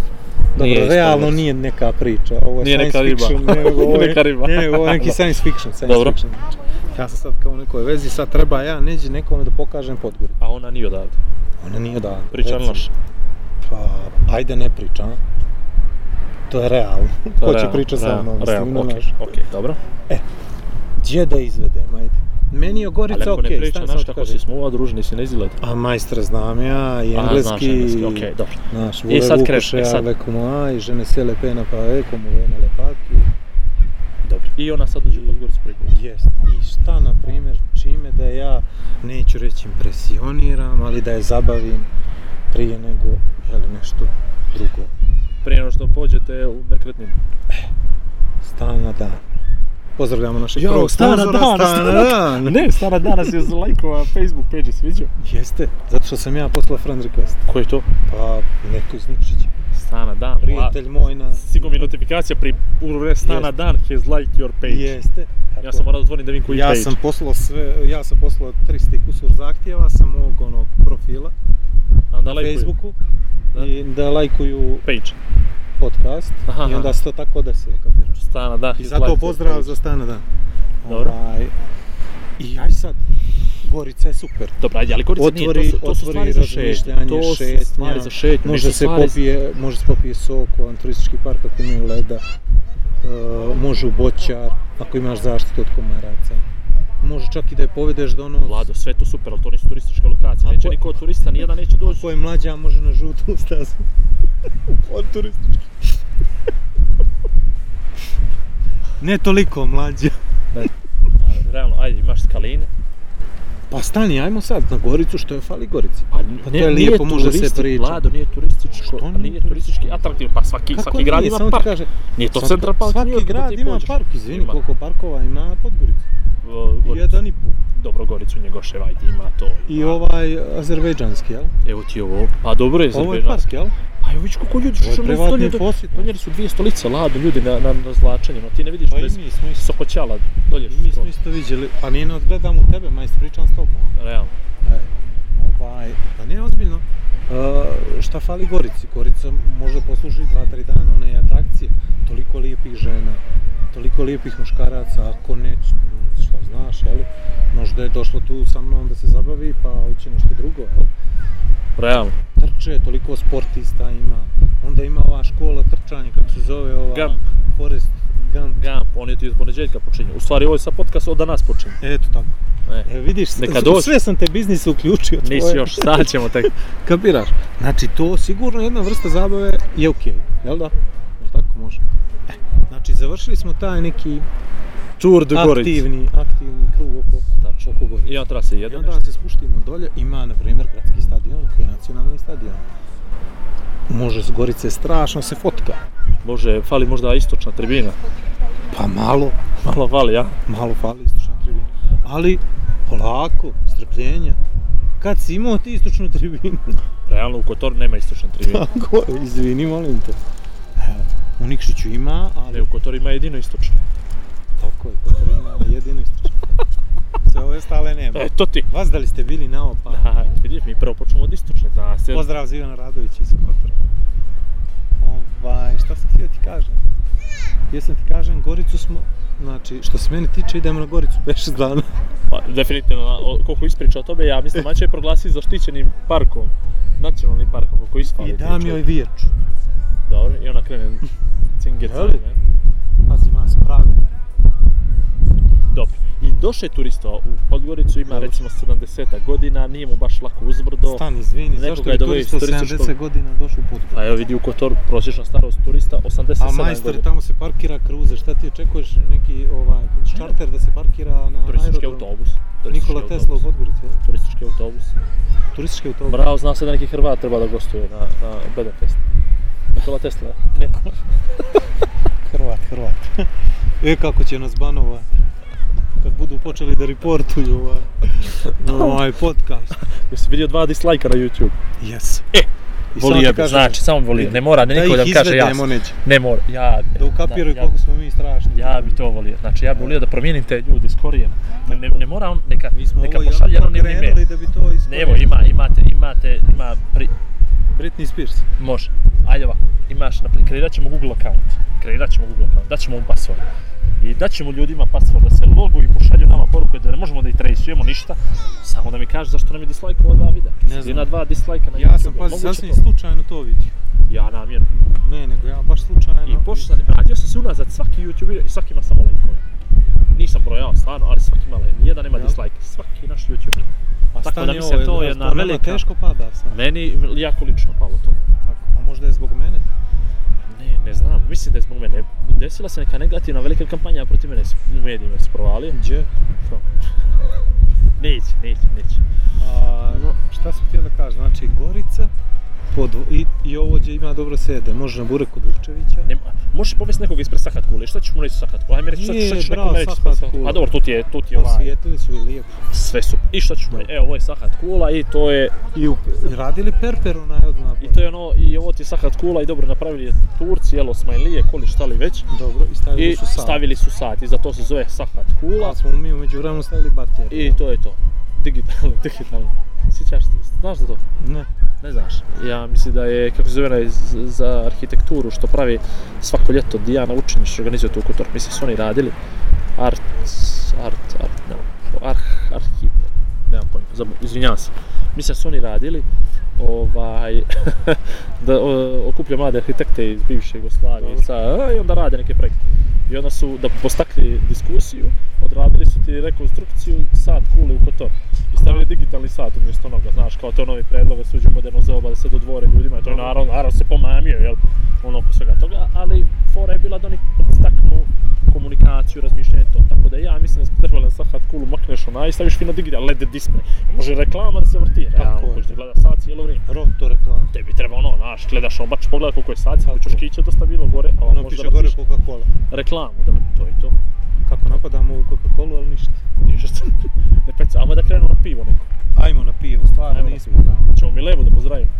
C: Dobro,
D: Nije iz
C: realno
D: Podgorice.
C: nije neka priča, ovo je
D: Nije
C: science
D: neka riba.
C: fiction, ne, nego ovo je,
D: Neka riba.
C: ne, nego ovo je neki science fiction, science
D: Dobro.
C: fiction. Znači, ja sam sad kao u nekoj vezi, sad treba ja neđe nekome da pokažem Podgoricu.
D: A ona nije odavde,
C: Ona nije odavde.
D: priča
C: recimo.
D: loš.
C: Pa ajde ne priča, a? To je realno. Ko će pričati sa mnom, mislim, ono-
D: Realno,
C: ne
D: okej,
C: znaš.
D: okej, dobro.
C: Gdje da izvedem, ajde. Meni je
D: Ali
C: Gorica
D: ako
C: okej,
D: ne
C: okay,
D: priča,
C: stan
D: znaš
C: sam
D: kako si smuva, družni si na izgled.
C: A majstra znam ja, i
D: A, znaš
C: engleski,
D: engleski, okej, dobro.
C: Znaš,
D: I sad kreš, e
C: ja
D: sad.
C: le como ai, je ne sais le pen pa e, como le ne le paki.
D: Dobro. I ona sad dođe u Podgoricu prvi put.
C: Jest. I šta, na primjer, čime da ja, neću reći impresioniram, ali da je zabavim prije nego, jel, nešto drugo.
D: Prije nego što pođete u nekretninu.
C: Stan na dan. Pozdravljamo našeg
D: Jo,
C: prvog
D: Stan na
C: sponzora,
D: dan,
C: Stan na dan.
D: Ne, stara danas je zlajkova Facebook page, si vidio?
C: Jeste, zato što sam ja poslao friend request.
D: Ko je to?
C: Pa, neko iz Nikšića.
D: Stana dan.
C: Prijatelj moj na...
D: Sigo mi notifikacija pri urure Stana
C: Jest.
D: dan has liked your page.
C: Jeste.
D: Ja sam morao da otvorim da vidim koji
C: ja
D: page.
C: sam poslao sve, ja sam poslao 300 i kusur zahtjeva sa mog onog profila
D: A onda
C: na
D: lajkuju.
C: Facebooku
D: Da.
C: i da lajkuju
D: Page.
C: podcast
D: Aha,
C: i onda se to tako desilo, kapiraš.
D: Stana dan
C: I
D: has
C: zato
D: liked your
C: pozdrav
D: page.
C: za stana dan.
D: Dobro.
C: Ovaj, I aj sad, Gorica je super.
D: Dobra, ajde, ali Gorica nije, to
C: Otvori-
D: su, to su
C: otvori
D: stvari za šetnju.
C: razmišljanje,
D: To su
C: šetnja.
D: stvari za šetnju.
C: Može
D: nisu
C: se
D: stvari za-
C: popije, može se popije sok u jedan turistički park ako imaju leda. E, može u boćar ako imaš zaštitu od komaraca. Može čak i da je povedeš do ono
D: Vlado, sve je to super, ali to nisu turističke lokacije.
C: A
D: Neće
C: ko-
D: niko od turista, nijedan neće doći.
C: Ako je mlađa, može na žutu stazu. Od turistički. ne toliko mlađa.
D: A, Realno, ajde, imaš skaline.
C: Pa stani, ajmo sad na Goricu, što je fali Gorici?
D: Pa,
C: Pa to je lijepo, može se
D: turisti-
C: priča.
D: Vlado, nije turističko, pa
C: Što
D: nije,
C: nije
D: turistički atraktivno. Pa svaki, svaki grad
C: nije,
D: ima
C: samo ti
D: park.
C: Kaže,
D: Nije to
C: svaki-
D: Central Park,
C: Svaki
D: New York,
C: grad
D: ti
C: ima
D: pođeš.
C: park, izvini,
D: Ima.
C: koliko parkova ima na Podgorici?
D: Uh, Goricu.
C: Jedan i pol.
D: Dobro, Goricu, Njegoševa, ajde, ima to.
C: I
D: ima.
C: ovaj azerbejdžanski, jel?
D: Evo ti ovo. Pa dobro je,
C: Ovo je
D: Azerbejdžan.
C: park, jel?
D: Pa evo vidiš koliko ljudi
C: Ovo je
D: što ne
C: privatni
D: stolje.
C: posjet.
D: Donijeli su dvije stolice, Lado, ljudi na, na, na zlačenju. No ti ne vidiš
C: Pa i
D: bez
C: mi smo isto,
D: sokoćala dolje.
C: i mi smo isto viđeli. Pa nije ne odgledam u tebe, majst, pričam s tobom.
D: Realno.
C: E, ovaj, pa nije ozbiljno. E, šta fali Gorici? Gorica možda posluži 2-3 dana, one je atrakcije. Toliko lijepih žena, toliko lijepih muškaraca, ako ne, šta znaš, jel? Možda je došlo tu sa mnom da se zabavi, pa hoće nešto drugo, jel?
D: Realno.
C: Trče, toliko sportista ima. Onda ima ova škola trčanja, kako se zove ova...
D: Gump.
C: Forest Gump.
D: Gump, on je tu pa iz poneđeljka počinje. U stvari, ovo je sad podcast od danas počinje.
C: Eto tako.
D: Ne.
C: E, vidiš, s-
D: Neka dođe.
C: sve sam te biznise uključio.
D: Nisi
C: tvoje.
D: još, sad ćemo tek.
C: Kapiraš? Znači, to sigurno jedna vrsta zabave je okej, jel da? Jel tako može? E, znači, završili smo taj neki
D: Tour de Gorica.
C: aktivni, aktivni krug oko,
D: Tačno.
C: oko Gorice.
D: I on trase
C: I
D: jedan
C: onda se spuštimo dolje, ima, na primjer, gradski stadion, koji je nacionalni stadion. Može s Gorice strašno se fotka.
D: Bože, fali možda istočna tribina.
C: Pa malo,
D: Malo fali, ja?
C: malo fali istočna tribina. Ali, polako, strpljenja. Kad si imao ti istočnu tribinu?
D: Realno u Kotoru nema istočna tribina.
C: Tako, izvini, molim te. Evo, u Nikšiću ima, ali
D: Ne, u Kotoru ima jedino istočna.
C: Tako je, Kotorina je jedino istočno. Sve ove stale nema.
D: E, to ti.
C: Vas da li ste bili na opa?
D: Da, vidiš, mi prvo počnemo od istočne, da se...
C: Pozdrav za Ivana Radovića iz Kotora. Ovaj, šta sam htio ti kažem? Jesam ti kažem, Goricu smo, znači, što se mene tiče, idemo na Goricu 5-6 dana.
D: Pa, definitivno, o- koliko ispriča o tome, ja
C: E.
D: mislim da će je proglasiti zaštićenim parkom. Nacionalnim parkom, koliko isfali.
C: I dam joj vječu.
D: Dobro, i ona krene cinger.
C: Jeli? Pazi, ima sprave.
D: Dobro. I došao je turista u Podgoricu, ima
C: Dobro.
D: recimo 70 godina, nije mu baš lako uzbrdo.
C: Stan, izvini,
D: Nekoga
C: zašto
D: je
C: je
D: doveo iz
C: turista od
D: turističkog-
C: 70 godina došao u Podgoricu?
D: Pa evo vidi u Kotoru, prosječna starost turista 87
C: A majster,
D: godina.
C: tamo se parkira kruze, šta ti očekuješ neki ovaj, čarter da se parkira na
D: Turistički
C: aerodromu?
D: autobus. Turistički
C: Nikola Tesla u
D: autobus.
C: Podgorici, jel?
D: Turistički autobus.
C: Turistički autobus.
D: Bravo, zna se da neki Hrvat treba da gostuje na, na Budapest. Nikola Tesla. Ne.
C: Hrvat, Hrvat. e, kako će nas banova kad budu počeli da reportuju ovaj, ovaj podcast.
D: Jesi vidio dva dislajka na YouTube?
C: Yes.
D: E,
C: I samo ti
D: Volio bi,
C: kažem,
D: znači, samo bi volio. Ne mora, ne niko da mi
C: ih
D: kaže ja.
C: izvedemo, neće.
D: Ne mora, ja bi.
C: Da ukapiraju
D: da, ja,
C: koliko smo mi strašni.
D: ja bi to volio. Znači, ja bi volio da promijenim te ljude iz korijena. Ne, ne, ne mora on, neka,
C: Mi smo
D: neka
C: ovo i
D: pošalje
C: onako
D: anonimni mail.
C: krenuli da bi to iskoristili.
D: Evo, ima, imate, imate, ima, pri,
C: Britney Spears.
D: Može. Ajde ovako, imaš, napri- kreirat ćemo Google account. Kreirat ćemo Google account, dat ćemo mu password. i daćemo ljudima password da se logu i pošalju nama poruke da ne možemo da ih trejsujemo ništa, samo da mi kaže zašto nam je dislajkovao dva videa.
C: Ne
D: Ili
C: znam.
D: na dva dislajka na
C: Ja sam,
D: YouTubeu,
C: pazi,
D: moguće
C: sasvim
D: to?
C: slučajno to vidio.
D: Ja namjerno.
C: Ne, nego ja baš slučajno.
D: I pošto sam, radio sam se unazad svaki YouTube video i svaki ima samo lajkove. Nisam brojao stvarno, ali svaki ima lajk, nijedan nema
C: Ja.
D: dislajka, svaki naš YouTube video.
C: A
D: tako
C: stani
D: da mislim
C: ovo,
D: to
C: jel
D: Pa je jedna
C: vama
D: velika-
C: teško pada sad.
D: Meni jako lično palo to.
C: Tako, a možda je zbog mene?
D: Ne, ne znam, mislim da je zbog mene. Desila se neka negativna velika kampanja protiv mene s- u medijima se provalio.
C: Gdje?
D: Što? Neće, neće, neće.
C: A,
D: No.
C: šta sam htio da kažem, znači Gorica, pod, i, i ovo gdje ima dobro sede, može na Burek od Vukčevića.
D: Ne, možeš povesti nekog ispred Sahat Kule, šta ćeš mu reći Sahat Kule? Ajme reći šta,
C: Nije,
D: šta ćeš
C: bravo,
D: nekome reći
C: Sahat
D: ispred Sahat Kule?
C: Kule.
D: A dobro, tu ti je, tu ti je ovaj,
C: Osvijetili su i lijepo.
D: sve su. I šta ćeš mu reći? E, ovo je Sahat Kula i to je,
C: I u, radili Perper onaj od napada.
D: i to je ono, i ovo ti je Sahat Kula i dobro napravili je Turci, jel, Osmanlije, koli šta li već.
C: Dobro, i stavili
D: I
C: su sad.
D: stavili su sat i za to se zove Sahat Kula.
C: A smo mi umeđu vremenu stavili bateriju.
D: I to je to. Digitalno, digitalno. Sjećaš se, znaš za to?
C: Ne.
D: Ne znaš. Ja mislim da je, kako se zove onaj z- za arhitekturu, što pravi svako ljeto Dijana Učinić organizuje tu kultur. Mislim, su oni radili art, art, art, ne, ar, arhiv, ne, nemam pojma, zabu- izvinjavam se. Mislim, da su oni radili ovaj, da o, okuplja mlade arhitekte iz bivše Jugoslavije i, sa, a, i onda rade neke projekte. I onda su, da postakli diskusiju, odradili su ti rekonstrukciju sad kule u Kotor. I stavili digitalni sat umjesto onoga, znaš, kao to je novi predlog, da se uđe u moderno zoba, da se dodvore ljudima, to je naravno, naravno se pomamio, jel, ono oko svega toga, ali fora je bila da oni podstaknu komunikaciju, razmišljanje i to. Tako da ja mislim da smo trebali na sahat kulu makneš onaj i staviš fino digital, LED display. Može reklama da se vrti, realno,
C: je.
D: hoćeš da gleda sat cijelo vrijeme
C: Rob to reklama.
D: tebi treba ono, znaš, gledaš ono, baš pogleda koliko je sat, ali ćeš kića dosta bilo gore, a ono
C: Ono
D: možda
C: piše gore
D: vratiš
C: Coca-Cola.
D: reklamu, da to i to.
C: Kako napadamo u Coca-Cola, ali ništa.
D: Ništa se ne peca, ama da krenemo na pivo neko.
C: Ajmo na pivo, stvarno
D: Ajmo na
C: nismo tamo.
D: Ćemo mi levo da pozdravimo.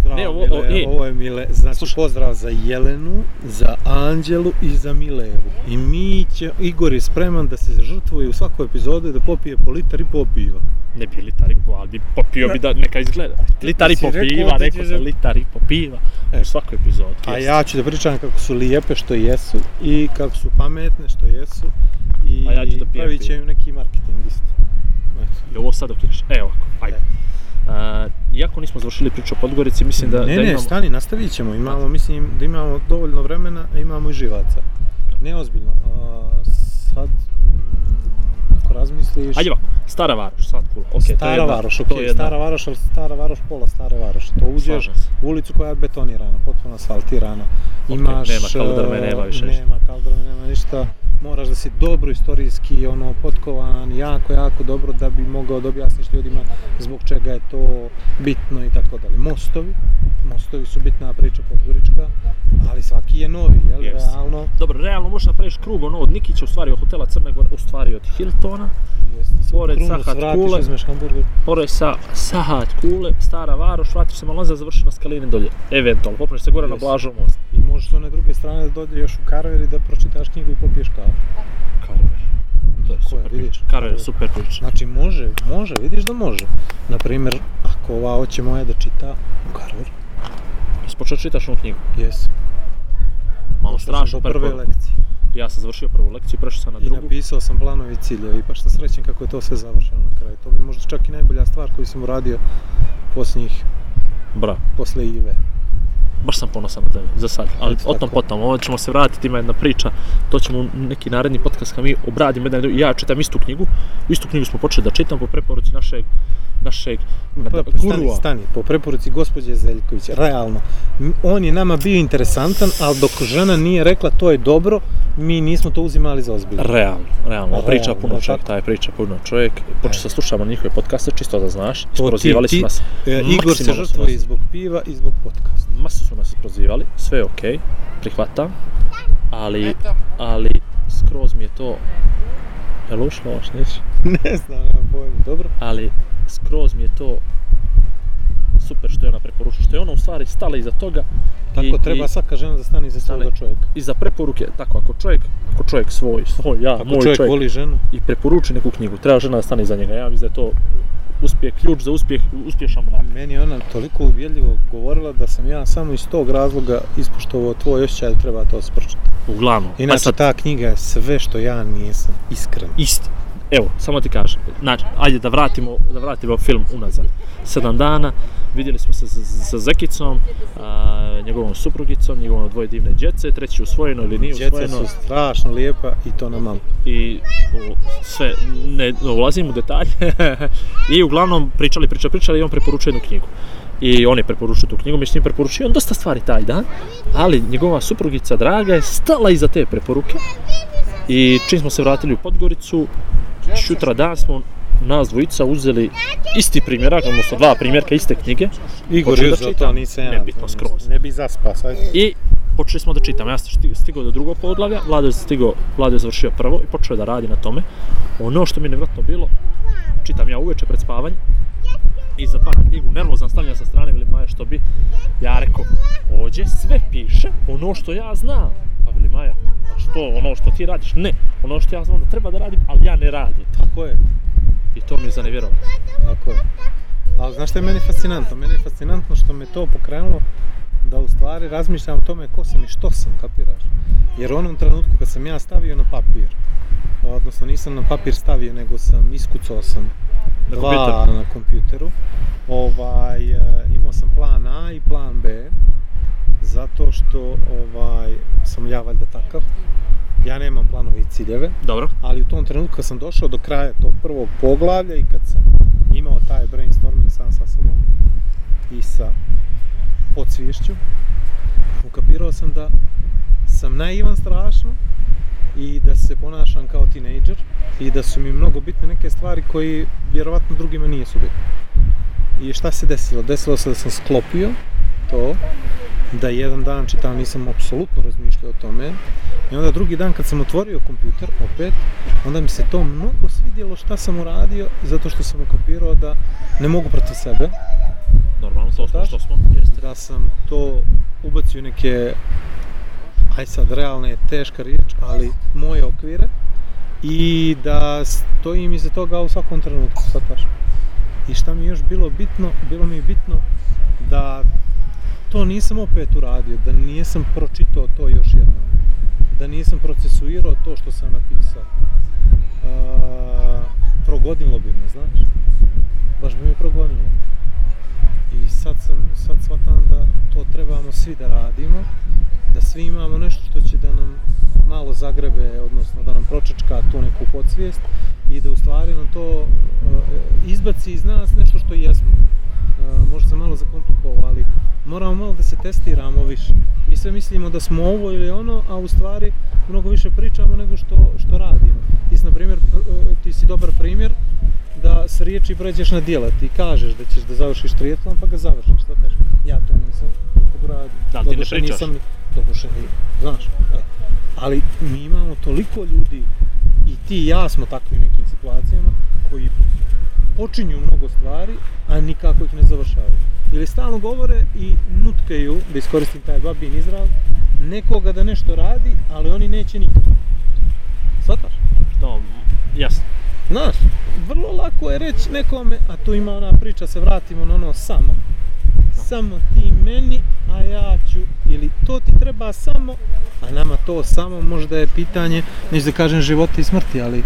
C: Zdravo,
D: Ne,
C: ne,
D: ovo- e,
C: ovo,
D: ovo- i-
C: Mile, ovo je Mile. Znači, pozdrav za Jelenu, za Anđelu i za Milevu. I mi će, Igor je spreman da se žrtvuje u svakoj epizodi da popije po litar i po piva.
D: Ne bi litar i po, ali bi popio bi da neka izgleda. Litar i
C: si
D: po
C: rekao
D: piva,
C: da
D: rekao
C: ćeš-
D: sam litar i po piva.
C: E.
D: U svakoj epizodi.
C: A
D: jest.
C: ja ću da pričam kako su lijepe što jesu i kako su pametne što jesu. I
D: A ja ću da pijem
C: pravit će
D: pivo.
C: im neki marketing isto. Eto.
D: I ovo sad dok ješ. E, ovako, ajde. Uh, iako nismo završili priču o Podgorici, mislim da,
C: ne,
D: da
C: ne,
D: imamo...
C: stani, nastavit ćemo. Imamo, mislim, da imamo dovoljno vremena, a imamo i živaca. Neozbiljno. A, sad, mm, ako razmisliš...
D: Ajde ovako, Stara Varoš, sad kula. Okay, to je
C: Stara
D: jedna-
C: Varoš,
D: to
C: okej,
D: je jedna-
C: Stara Varoš, ali Stara Varoš, pola Stare Varoš. To uđeš
D: Slažem se.
C: u ulicu koja je betonirana, potpuno asfaltirana.
D: Okej,
C: Imaš...
D: nema kaldrme,
C: e,
D: nema više ništa.
C: Nema kaldrme, nema ništa. Moraš da si dobro istorijski ono potkovan, jako, jako dobro da bi mogao da objasniš ljudima zbog čega je to bitno i tako dalje. Mostovi, mostovi su bitna priča podgorička, ali svaki je novi, jel,
D: Jest.
C: realno.
D: Dobro, realno možeš napraviš krug ono od Nikića, u stvari od hotela Crne Gore, u stvari od Hiltona,
C: Jest.
D: Pored
C: Krunu
D: Sahat
C: svratiš,
D: Kule.
C: uzmeš hamburger.
D: Pore sa Sahat, Kule, Stara Varoš, vratiš se malo nazad, završi na Skalini dolje. Eventualno, popneš se gore na
C: Yes.
D: Blažov most.
C: I možeš s one druge strane da dođeš u karver i da pročitaš knjigu i popiješ kavu.
D: Karver. To je super
C: vidiš?
D: priča. Karver je super priča.
C: Znači može, može, vidiš da može. Naprimjer, ako ova hoće moja da čita u karver,
D: Jesi počeo da čitaš ovu knjigu?
C: jes.
D: Malo strašno,
C: do prve
D: preporuka.
C: lekcije.
D: Ja sam završio prvu lekciju, prešao sam na
C: I
D: drugu.
C: napisao sam planovi ciljevi i baš sam srećen kako je to sve završeno na kraju. To mi je možda čak i najbolja stvar koju sam uradio posljednjih,
D: Bra,
C: posle Ive.
D: baš sam ponosan na tebe, za sad. Ali
C: Eto
D: o tom
C: tako.
D: potom, ovo ćemo se vratiti, ima jedna priča. To ćemo u neki naredni podcast kad mi obradimo jedan drugi. Ja čitam istu knjigu, istu knjigu smo počeli da čitam po preporuci našeg našeg
C: Pa, stani,
D: gurua.
C: stani, po preporuci gospođe Zeljković, realno, m- on je nama bio interesantan, ali dok žena nije rekla to je dobro, mi nismo to uzimali za ozbiljno.
D: Realno, realno,
C: Realno,
D: priča puno
C: jel
D: čovjek,
C: tako? E.
D: taj priča puno čovjek, počeo se slušamo njihove podcaste, čisto da znaš,
C: To ti-
D: isprozivali su
C: ti-
D: nas,
C: E, Igor se
D: Maksimalno
C: žrtvuje i
D: smo-
C: zbog piva i zbog podcasta.
D: masu su nas isprozivali, sve je okej, prihvatam, ali, ali skroz mi je to, je li ušlo ovo što neće?
C: Ne znam, nemam pojma, dobro.
D: ali skroz mi je to super što je ona preporučila, što je ona u stvari stala iza toga
C: Tako
D: i,
C: treba
D: i,
C: svaka žena da stane iza
D: Stane.
C: svoga čovjeka.
D: i za preporuke, tako ako čovjek, ako čovjek svoj, svoj ja,
C: Ako
D: moj
C: čovjek,
D: čovjek,
C: voli ženu,
D: i preporuči neku knjigu, treba žena da stane iza njega. Ja mislim da je to uspjeh, ključ za uspjeh, uspješan brak.
C: Meni je ona toliko ubjedljivo govorila da sam ja samo iz tog razloga ispoštovao tvoj osjećaj da treba to sprčati.
D: Uglavnom, pa
C: Inače,
D: sad,
C: ta knjiga je sve što ja nisam, iskreno.
D: isti. Evo, samo ti kažem. Znači, ajde da vratimo, da vratimo film unazad. Sedam dana, vidjeli smo se sa- sa Zekicom, a, njegovom suprugicom, njegovom dvoje divne djece, treći usvojeno ili nije
C: Djeca
D: usvojeno.
C: su strašno lijepa i to na malo.
D: i o, sve, ne ulazim u detalje i uglavnom pričali, pričali, pričali i on preporučuje jednu knjigu. I on je preporučio tu knjigu, mi s njim preporučio on dosta stvari taj dan, ali njegova suprugica Draga je stala iza te preporuke i čim smo se vratili u Podgoricu, šutra dan smo nas dvojica uzeli isti primjerak, odnosno dva primjerka iste knjige
C: Igor
D: Hoćeš da
C: Juzo, to
D: čitam?
C: nisam ja.
D: Nebitno, skroz.
C: Ne bi zaspao, sad.
D: I počeli smo da čitamo. Ja sam šti- stigao do drugog poglavlja, Vlado je stigao, Vlado je završio prvo i počeo je da radi na tome. Ono što mi je nevratno bilo, čitam ja uveče pred spavanje i zatvaram knjigu, nervozan stavljam sa strane, velim Maja što bi, ja rekao, ovdje sve piše ono što ja znam. Pa veli Maja, a što, ono što ti radiš? Ne, ono što ja znam da treba da radim, ali ja ne radim.
C: Tako je,
D: I to mi je zanevjerovalo.
C: tako je. Ali znaš što je meni fascinantno? Meni je fascinantno što me to pokrenulo da u stvari razmišljam o tome ko sam i što sam, kapiraš? Jer u onom trenutku kad sam ja stavio na papir, odnosno nisam na papir stavio, nego sam iskucao sam
D: Na
C: dva na kompjuteru, ovaj, e, imao sam plan A i plan B, zato što ovaj, sam ja valjda takav, ja nemam planove i ciljeve,
D: Dobro.
C: ali u tom trenutku kad sam došao do kraja tog prvog poglavlja i kad sam imao taj brainstorming sam sa sobom i sa podsvješću, ukapirao sam da sam naivan strašno i da se ponašam kao tinejdžer i da su mi mnogo bitne neke stvari koji vjerovatno drugima nije su bitne. I šta se desilo? Desilo se da sam sklopio to, da jedan dan čitam nisam apsolutno razmišljao o tome, I onda drugi dan kad sam otvorio kompjuter opet, onda mi se to mnogo svidjelo šta sam uradio, zato što sam ukopirao da ne mogu protiv sebe,
D: Normalno, to smo
C: Daš?
D: što smo, jeste.
C: da sam to ubacio u neke, aj sad realne je teška riječ, ali moje okvire i da stojim iza toga u svakom trenutku, shvataš. I šta mi je još bilo bitno, bilo mi je bitno da to nisam opet uradio, da nisam pročitao to još jednom, da nisam procesuirao to što sam napisao. Uh, progodilo bi me, znaš? Baš bi me progonilo. I sad, sam, sad shvatam da to trebamo svi da radimo, da svi imamo nešto što će da nam malo zagrebe, odnosno da nam pročačka tu neku podsvijest i da u stvari nam to e, izbaci iz nas nešto što jesmo. E, možda sam malo zakomplikovao, ali moramo malo da se testiramo više. Mi sve mislimo da smo ovo ili ono, a u stvari mnogo više pričamo nego što, što radimo. Ti si, na primjer, e, ti si dobar primjer da s riječi pređeš na djela, ti kažeš da ćeš da završiš triatlon pa ga završiš, šta teško? Ja to nisam odradio.
D: Da, ali ti ne
C: Doduše
D: pričaš.
C: Nisam, doduše nije, znaš. e. Ali mi imamo toliko ljudi i ti i ja smo takvi u nekim situacijama koji počinju mnogo stvari, a nikako ih ne završavaju. Ili stalno govore i nutkaju, da iskoristim taj babin izraz, nekoga da nešto radi, ali oni neće nikako. Svataš?
D: To, jasno.
C: Znaš, vrlo lako je reći nekome, a tu ima ona priča, se vratimo na ono samo. Samo ti meni, a ja ću, ili to ti treba samo, a nama to samo možda je pitanje, neću da kažem života i smrti, ali e,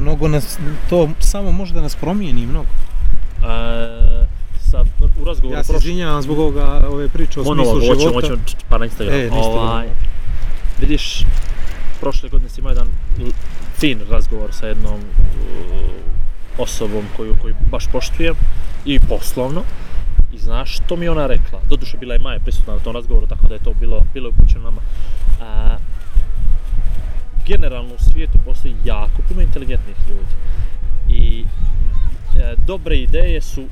C: mnogo nas, to samo možda nas promijeni mnogo.
D: E, sa, u razgovoru
C: Ja se
D: prošli-
C: izvinjavam zbog ovoga, ove priče o
D: monolog,
C: smislu
D: hoćemo,
C: života.
D: hoćemo, č- č- pa na Instagram.
C: E, na Instagramu.
D: Vidiš, prošle godine sam imao jedan l- fin razgovor sa jednom uh, osobom koju, koju baš poštujem i poslovno. I znaš što mi je ona rekla? Doduše bila je Maja prisutna na tom razgovoru, tako da je to bilo, bilo je upućeno nama. A, generalno u svijetu postoji jako puno inteligentnih ljudi. I e, dobre ideje su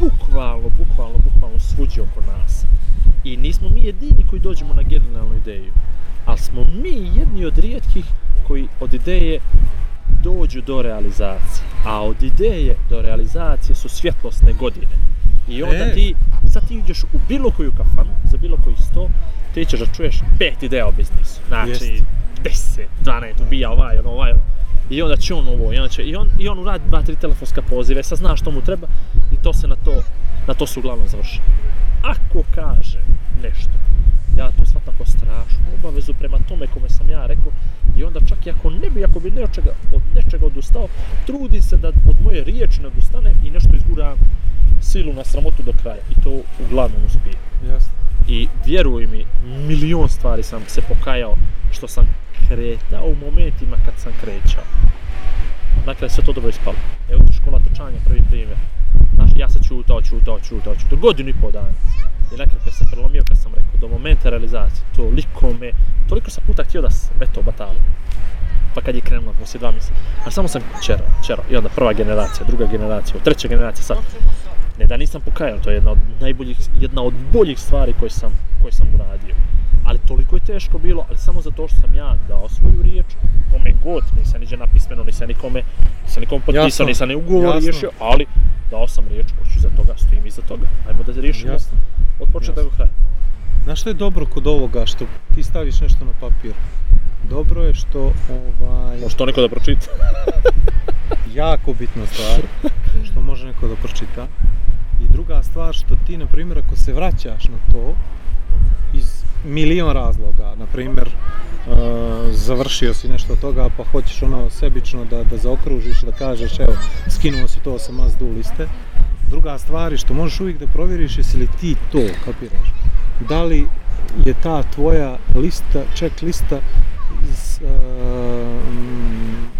D: bukvalno, bukvalno, bukvalno svuđe oko nas. I nismo mi jedini koji dođemo na generalnu ideju, ali smo mi jedni od rijetkih koji od ideje dođu do realizacije. A od ideje do realizacije su svjetlosne godine. I onda
C: E.
D: ti, sad ti uđeš u bilo koju kafanu, za bilo koji sto, ti ćeš da čuješ pet ideja o biznisu. Znači,
C: Jest.
D: 10, 12, ubija ovaj, ono, ovaj, ono. I onda će on ovo, i onda će, i on, i on uradi dva, tri telefonska pozive, sad zna što mu treba i to se na to, na to se uglavnom završi. Ako kaže nešto, ja to svatam kao strašnu obavezu prema tome kome sam ja rekao i onda čak i ako ne bi, ako bi ne od, čega, od nečega odustao, trudi se da od moje riječi ne odustane i nešto izgura silu na sramotu do kraja i to uglavnom uspije.
C: Jasno.
D: I vjeruj mi, milion stvari sam se pokajao što sam kretao u momentima kad sam krećao. Dakle, sve to dobro ispalo. Evo ti škola trčanja, prvi primjer. Znaš, ja sam čutao, čutao, čutao, čutao, godinu i pol dana. I nakon kad sam prelomio, kad sam rekao, do momenta realizacije, toliko me, toliko sam puta htio da se, eto, batalo. Pa kad je krenulo, poslije dva mjeseca. A samo sam čerao, čerao. I onda prva generacija, druga generacija, treća generacija sad. Ne da nisam pokajao, to je jedna od najboljih, jedna od boljih stvari koje sam, koje sam uradio. Ali toliko je teško bilo, ali samo zato što sam ja dao svoju riječ, kome god, nisam niđe napismeno, nisam nikome, nisam nikom potpisao,
C: Jasno,
D: nisam ni ugovor
C: jasno.
D: riješio, ali dao sam riječ, hoću za toga, stojim iza toga. Ajmo da riješimo
C: Jasno.
D: od početka do
C: Jasno.
D: kraja.
C: Znaš što je dobro kod ovoga što ti staviš nešto na papir? Dobro je što ovaj,
D: Može to neko da pročita?
C: jako bitna stvar što može neko da pročita. I druga stvar što ti, na primjer, ako se vraćaš na to iz milion razloga, na primjer, e, završio si nešto od toga pa hoćeš ono sebično da, da zaokružiš, da kažeš evo, skinuo si to sa Mazdu liste. Druga stvar je što možeš uvijek da provjeriš jesi li ti to, kapiraš. Da li je ta tvoja lista, check lista s, э,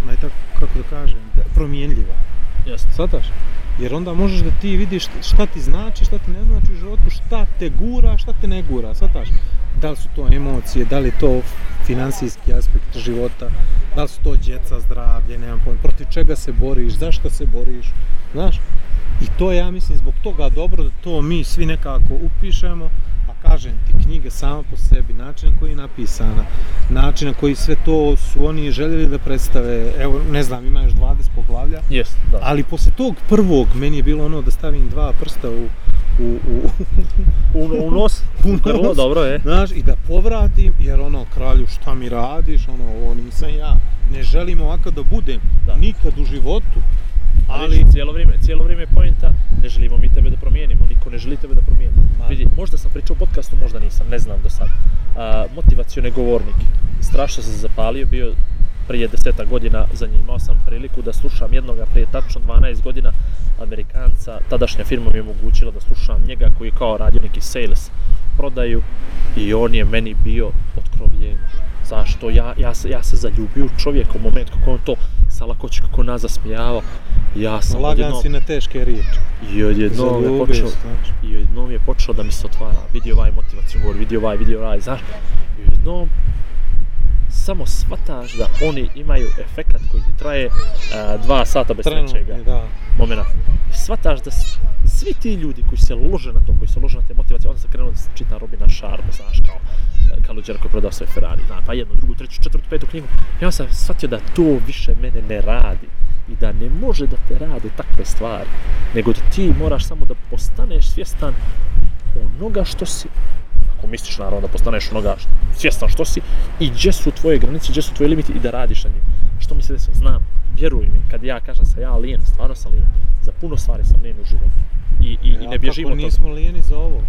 C: uh, tako, kako da kažem, da- promjenljiva.
D: Jasno.
C: Sataš? Jer onda možeš da ti vidiš šta ti znači, šta ti ne znači u životu, šta te gura, šta te ne gura, sataš? Da li su to emocije, da li je to finansijski aspekt života, da li su to djeca, zdravlje, nemam pojma, protiv čega se boriš, zašto se boriš, znaš? I to je, ja mislim zbog toga dobro da to mi svi nekako upišemo, a kažem ti knjiga sama po sebi, način na koji je napisana, način na koji sve to su oni željeli da predstave, evo ne znam ima još 20 poglavlja,
D: Jest, da.
C: ali posle tog prvog meni je bilo ono da stavim dva prsta u, u, u
D: U, u nos?
C: U nos.
D: Prvo, dobro je.
C: znaš, i da povratim, jer ono, kralju, šta mi radiš, ono, ovo nisam ja, ne želim ovako da budem,
D: Da.
C: nikad u životu, ali,
D: Ali cijelo vrijeme, cijelo vrijeme je pojenta, ne želimo mi tebe da promijenimo, niko ne želi tebe da promijeni.
C: Ma.
D: Vidi, možda sam pričao u podcastu, možda nisam, ne znam do sad. A, motivacione govornike. Strašno sam se zapalio, bio prije deseta godina za njim imao sam priliku da slušam jednog prije tačno 12 godina Amerikanca, tadašnja firma mi je omogućila da slušam njega koji je kao radio neki sales prodaju i on je meni bio otkrovljen. Zašto? Ja, ja, se, ja se zaljubio u čovjeka u moment kako je on to sa lakoću kako nas zasmijavao. Ja sam
C: lagan si na teške riječi,
D: I odjednom je
C: Zaljubio
D: počeo,
C: se, znaš.
D: i odjednom je počeo da mi se otvara, vidi ovaj motivaciju govor, vidi ovaj, vidi ovaj, znaš, i odjednom samo shvataš da oni imaju efekat koji ti traje a, dva sata bez nečega
C: trenutno, da,
D: momena. I shvataš da s- svi ti ljudi koji se lože na to, koji se lože na te motivacije, onda sam krenuo da čitam Robina Sharma, znaš, kao e, Kaluđer koji je prodao svoj Ferrari, znaš, pa jednu, drugu, treću, četvrtu, petu knjigu. I onda sam shvatio da to više mene ne radi i da ne može da te rade takve stvari, nego da ti moraš samo da postaneš svjestan onoga što si, ako misliš naravno da postaneš onoga što, svjestan što si i gdje su tvoje granice, gdje su tvoji limiti i da radiš na njima. Što mi se desilo? Znam, vjeruj mi, kad ja kažem sam ja lijen, stvarno sam lijen. Za puno stvari sam lijen u životu. I, i, i
C: Ja,
D: ne bježim
C: kako
D: od toga.
C: nismo lijeni za ovo,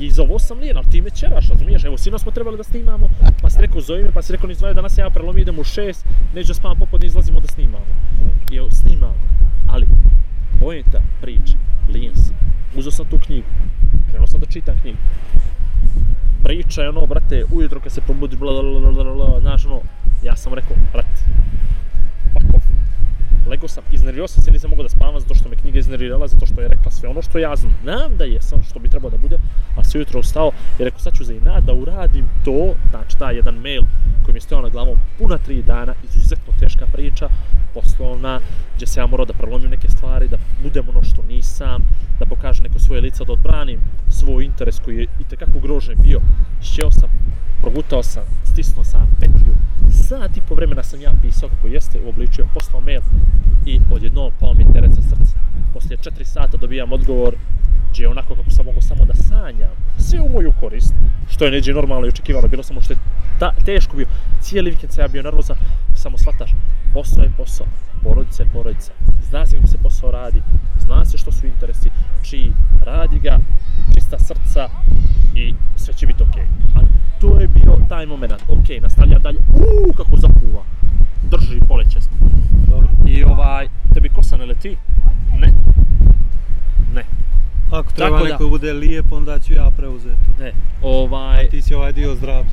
D: I za ovo sam lijen, ali ti me čeraš, razumiješ? Evo, sinoć smo trebali da snimamo, pa si rekao zove me, pa si rekao ni zove, danas se ja prelomim, idem u šest, neću da spavam popodne, izlazimo da snimamo. I evo, snimamo. Ali, pojenta priče, lijen si. Uzeo sam tu knjigu, krenuo sam da čitam knjigu. Priča je ono, brate, ujutro kad se probudi, bla, bla, bla, bla, bla, bla, znaš, ono, ja sam rekao, brate, fuck off. Lego sam, iznervirao sam se, nisam mogao da spavam zato što me knjiga iznervirala, zato što je rekla sve ono što ja znam da jesam, što bi trebao da bude, a sve jutro ustao i rekao sad ću za inat da uradim to, znači taj jedan mail koji mi je stojao na glavom puna tri dana, izuzetno teška priča, poslovna, gdje se ja morao da prelomim neke stvari, da budem ono što nisam, da pokažem neko svoje lice, da odbranim svoj interes koji je i tekako ugrožen bio. Sjeo sam, progutao sam, stisnuo sam petlju, sat i po vremena sam ja pisao kako jeste, uobličio, poslao mail i odjednom pao mi je teret sa srca. Poslije 4 sata dobijam odgovor gdje je onako kako sam mogao samo da sanjam, sve u moju korist, što je neđe normalno i očekivano, bilo samo što je ta, teško bio. Cijeli vikend sam ja bio nervozan, samo shvataš, posao je posao, porodica je porodica. Zna se kako se posao radi, zna se što su interesi, čiji radi ga, čista srca i sve će biti okej. A to je bio taj moment, okej, nastavljam dalje, uuu, kako zapuva, drži, poleće smo.
C: Dobro.
D: I ovaj, tebi kosa ne leti? Ne. Ne,
C: Ako treba
D: Tako da.
C: neko da. bude lijep, onda ću ja preuzeti.
D: ne. Ovaj,
C: Ti si ovaj dio zdrav.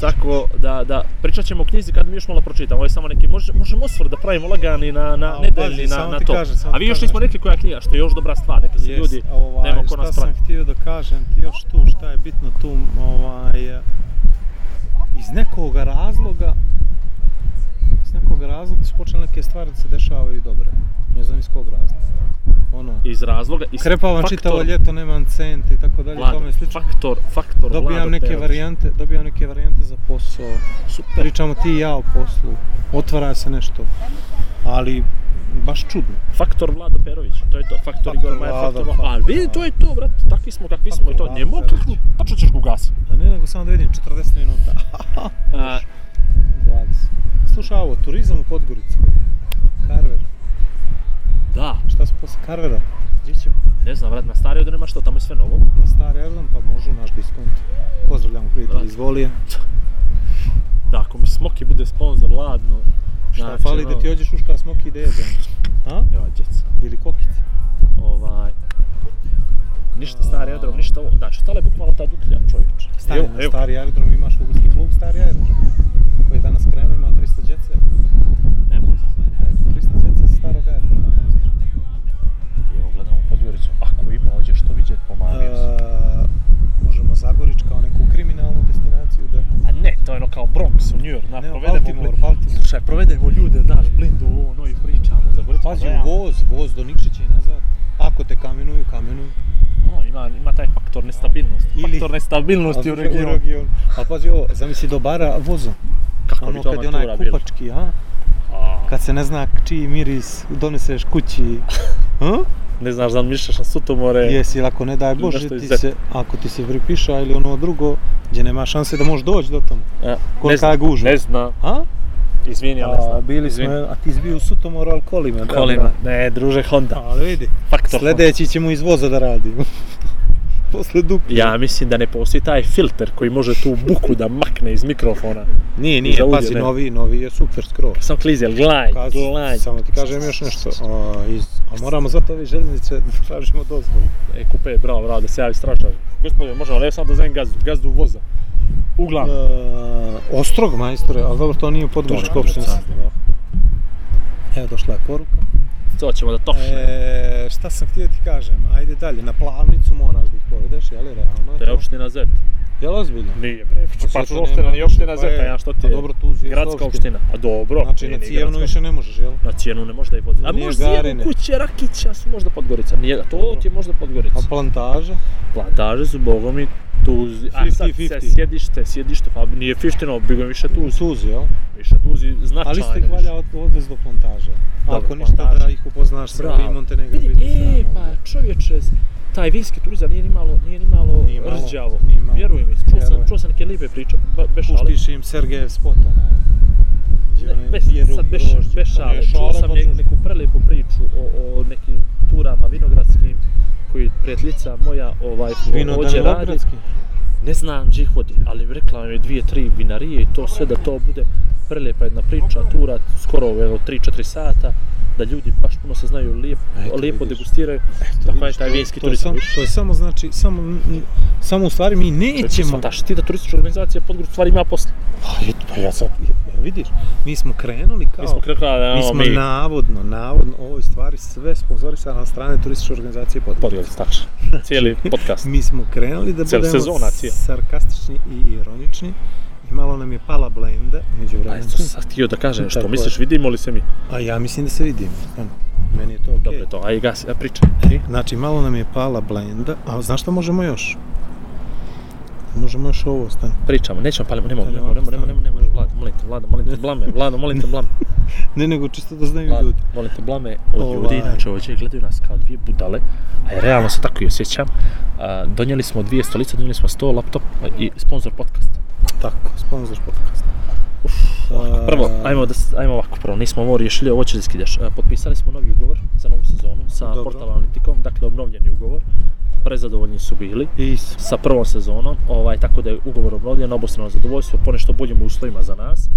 D: Tako da, da, pričat ćemo o knjizi kad mi još malo pročitamo, ovo je samo neki, može, možemo osvrt da pravimo lagani na, na
C: A,
D: nedeljni,
C: pazi,
D: na,
C: samo
D: na
C: ti
D: to.
C: kažem, samo
D: A
C: ti
D: vi još
C: kažem
D: nismo
C: nešto.
D: rekli koja je knjiga, što je još dobra stvar, neka se
C: Jest,
D: ljudi
C: a ovaj,
D: nema ko nas
C: Šta sam
D: prati.
C: htio da kažem ti još tu, šta je bitno tu, ovaj, iz nekog razloga, iz nekog razloga su počele neke stvari da se dešavaju dobre. Ne znam iz kog razloga. Ono,
D: Iz razloga, iz
C: krepavam
D: faktor-
C: čitavo ljeto, nemam centa i tako dalje,
D: Vlado,
C: tome slično.
D: Faktor, faktor, Vlado
C: Dobijam neke
D: Perović.
C: varijante, dobijam neke varijante za posao.
D: Super.
C: Pričamo ti i ja o poslu, otvara se nešto. Ali, baš čudno.
D: Faktor Vlado Perović, to je to, faktor
C: Faktor
D: Igor Majer,
C: Vlado,
D: faktor Vlado.
C: faktor
D: Ali vidi, to je to, brat, takvi smo, kakvi smo i
C: Faktor
D: to,
C: Vlado
D: njemu,
C: Perović.
D: kako, tačno ćeš ga ugasiti.
C: A ne, nego samo da vidim, 40 minuta.
D: A,
C: 20. Slušaj ovo, turizam u Podgorici. Karver.
D: Da,
C: Šta smo posle Karvera? Gdje ćemo?
D: ne znam, vrat, na stario da nema što, tamo je sve novo.
C: Na stari aerodrom, pa može u naš diskont. Pozdravljamo prijatelji iz Volije.
D: Da, ako mi Smoki bude sponsor, ladno. Znači, ono,
C: Šta fali da ti ođeš uškar smoki ideje za A?
D: Evo, djeca.
C: Ili kokice.
D: Ovaj... Ništa stari aerodrom, ništa ovo. Znači, stala je bukvalno ta duklja, čovječ.
C: Stari, na stari aerodrom imaš ugarski klub, stari aerodrom. Koji danas krenuo, ima 300 djece.
D: Ne može.
C: 300 djece sa starog aerodroma.
D: Evo, gledamo Podgoricu. Ako ima ođe što vidjet, pomalio se.
C: E, možemo Zagorić kao neku kriminalnu destinaciju da...
D: A ne, to je ono kao Bronx u New York. Na,
C: Ne,
D: provedemo,
C: Baltimore,
D: bli-
C: Baltimore.
D: Slušaj, provedemo ljude, daš blindu u ono i pričamo za Goricu.
C: Pazi, voz, voz do Nikšića i nazad. Ako te kamenuju, kamenuju.
D: Ono, ima, ima taj faktor nestabilnosti.
C: Ili-
D: Faktor nestabilnosti u regionu.
C: A pazi ovo, zamisli do bara vozom.
D: Kako bi
C: Ono
D: to
C: kad je onaj
D: avantura bila?
C: kupački, a?
D: A,
C: Kad se ne zna čiji miris doneseš kući. Ha?
D: Ne znaš, zamišljaš na Sutomore.
C: Jesi, ili ako ne daj
D: Ili
C: Bože,
D: E. nešto iz
C: ti
D: ZEP.
C: se, ako ti se pripiša ili ono drugo, gdje nema šanse da možeš doći do tamo.
D: A, e, ne
C: Kolika
D: znam,
C: je gužva?
D: Ne znam,
C: A? E,
D: izvini, ali ne znam. Izvini.
C: a ti izbio u Sutomoru, ali kolima. da,
D: Kolima.
C: brate.
D: Ne, druže, Honda.
C: Ali vidi,
D: Faktor
C: sljedeći ćemo iz voza da radimo. Posle duke.
D: Ja mislim da ne postoji taj filter koji može tu buku da makne iz mikrofona.
C: Nije,
D: I za
C: nije,
D: udio,
C: pazi,
D: ne.
C: novi, novi je super skroz.
D: Sam klizel, glanj,
C: Kaz,
D: glanj.
C: samo ti kažem još nešto, a, iz, a moramo zato ove željeznice da tražimo dozvolu.
D: E, kupe, bravo, bravo, da se javi stražar. Gospodin, možemo, ali evo samo da zovem gazdu, gazdu voza. Uglavnom.
C: E, Ostrog majstore, ali dobro, to nije podgorička
D: Dobro,
C: opština.
D: interesantno,
C: Evo, došla je poruka.
D: To ćemo da tošimo.
C: E, šta sam htio ti kažem, ajde dalje, na plavnicu moraš da ih povedeš, jel, realno je
D: Da je
C: to.
D: opština Z.
C: Jel ozbiljno?
D: Nije, bre,
C: Zato
D: pa
C: nema
D: što opština nije opština Z,
C: više,
D: pa
C: pa je-
D: ja što ti
C: Pa
D: je?
C: dobro, Tuzli je
D: Gradska
C: opština.
D: opština. A dobro,
C: Znači,
D: nije
C: na
D: ni
C: Cijevnu
D: gradska.
C: više ne možeš, jel?
D: Na cijenu ne možda i vodi. A
C: Nije
D: možda cijenu
C: Garine.
D: kuće Rakića su možda Podgorica. Nije, to ti je možda Podgorica.
C: A pa- plantaža?
D: Plantaže su bogom i Tuzi. A sad
C: 50-50.
D: se sjedište, sjedište, pa nije 50 no, bi više Tuzi.
C: Tuz, jel?
D: Više Tuzi značajno.
C: Ali isto ih
D: više.
C: valja od, odvez do plantaže.
D: Dobro,
C: Ako ništa
D: plantaža.
C: da ih upoznaš sa
D: Bravo.
C: i Montenegro.
D: Vidi, e, pa čovječe, taj vinski turizam nije ni malo, nije ni malo
C: Nije malo,
D: rđavo.
C: nije malo.
D: Vjeruj mi, čuo sam,
C: Vjerujem.
D: čuo sam neke lipe priče, ba- bez šale.
C: Puštiš im Sergejev spot, onaj. gdje
D: Ne,
C: onaj
D: bez,
C: jeru
D: sad bez,
C: grožđe.
D: bez
C: Pa
D: šale,
C: ne,
D: čuo
C: šale,
D: sam
C: pa
D: ne,
C: to-
D: neku prelijepu priču o, o nekim turama vinogradskim koji prijateljica moja ovaj
C: Vino da
D: ođe
C: ne
D: radi.
C: Lovgradski.
D: Ne znam gdje ih vodi, ali rekla mi je dvije, tri vinarije i to sve da to bude prelijepa jedna priča, tura, skoro jedno 3-4 sata, da ljudi baš puno se znaju lijepo,
C: Eto,
D: lijepo
C: vidiš.
D: degustiraju, tako je taj vinski
C: To je,
D: turizam.
C: samo, to je samo, znači, samo, n- samo u stvari
D: Znači,
C: mi nećemo...
D: Svataš ti da turistička organizacija Podgorica stvari ima posla.
C: Pa, eto, pa ja sad, ja, vidiš, mi smo krenuli kao...
D: Mi smo krekla da
C: Mi
D: ono,
C: smo
D: mi
C: navodno, navodno, ovo je stvari sve sponzorisano od strane turističke organizacije Podgorica.
D: Podgorica, tačno. Cijeli podcast.
C: Mi smo krenuli da
D: Cijel
C: budemo
D: sezona cijela.
C: sarkastični i ironični i malo nam je pala blenda među
D: A
C: vremenu.
D: eto sad htio da kažem, što
C: Tako je.
D: misliš, vidimo li se mi?
C: A ja mislim da se vidimo. Stvarno. Meni je to okej.
D: Dobro je to, aj gasi, ja pričam.
C: Znači, malo nam je pala blenda, a znaš šta možemo još? Možemo još ovo, stani.
D: Pričamo, nećemo palimo, nemo,
C: Ne,
D: nemo, nemo, nemo, nemo, nemo, vlada, molim te, vlada, molim te, blame, vlada, molim te, blame,
C: Ne, nego čisto da znaju
D: vlada,
C: ljudi.
D: molim te, blame od ljudi,
C: Ovaj.
D: inače ovdje gledaju nas kao dvije budale, a ja realno se tako i osjećam. A, donijeli smo dvije stolice, donijeli smo sto laptop i sponsor podcast.
C: Tako, sponsor podcasta. Uf,
D: Prvo, ajmo, da, s- ajmo ovako, prvo, nismo ovo riješili, ovo će da skideš. E, Potpisali smo novi ugovor za novu sezonu sa
C: Dobro.
D: Dobro. portalom Analyticom, dakle obnovljeni ugovor. Prezadovoljni su bili
C: Is.
D: sa prvom sezonom, ovaj, tako da je ugovor obnovljen, obostrano zadovoljstvo, ponešto boljim uslovima za nas.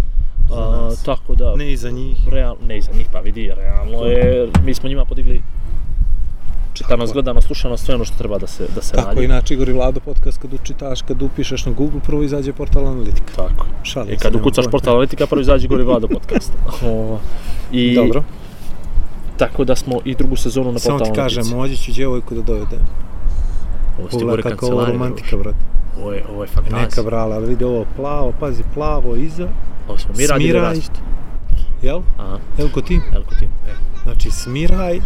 C: Za
D: A,
C: nas.
D: tako da,
C: Ne iza njih.
D: real, ne iza njih, pa vidi, realno je, mi smo njima podigli čitanost, gledanost, slušanost, sve ono što treba da se, da se
C: Tako,
D: radi.
C: inače gori Vlado podcast kad učitaš, kad upišeš na Google, prvo izađe portal analitika.
D: Tako.
C: Šalim
D: I
C: se,
D: E, kad
C: nema
D: ukucaš
C: pojma.
D: portal analitika, prvo izađe gore vlada podcast. Ovo. I,
C: Dobro,
D: Tako da smo i drugu sezonu na
C: samo
D: portalu
C: ti kažem, moći ću djevojku da dovedem. Pogledaj kako ovo romantika, brate.
D: Ovo je, ovo je fantastika.
C: Neka brala, ali vidi ovo plavo, pazi plavo iza,
D: Ovo smo mi radili
C: smiraj.
D: različito.
C: jel?
D: Aha,
C: Jel ko ti?
D: evo ti. E,
C: Znači smiraj,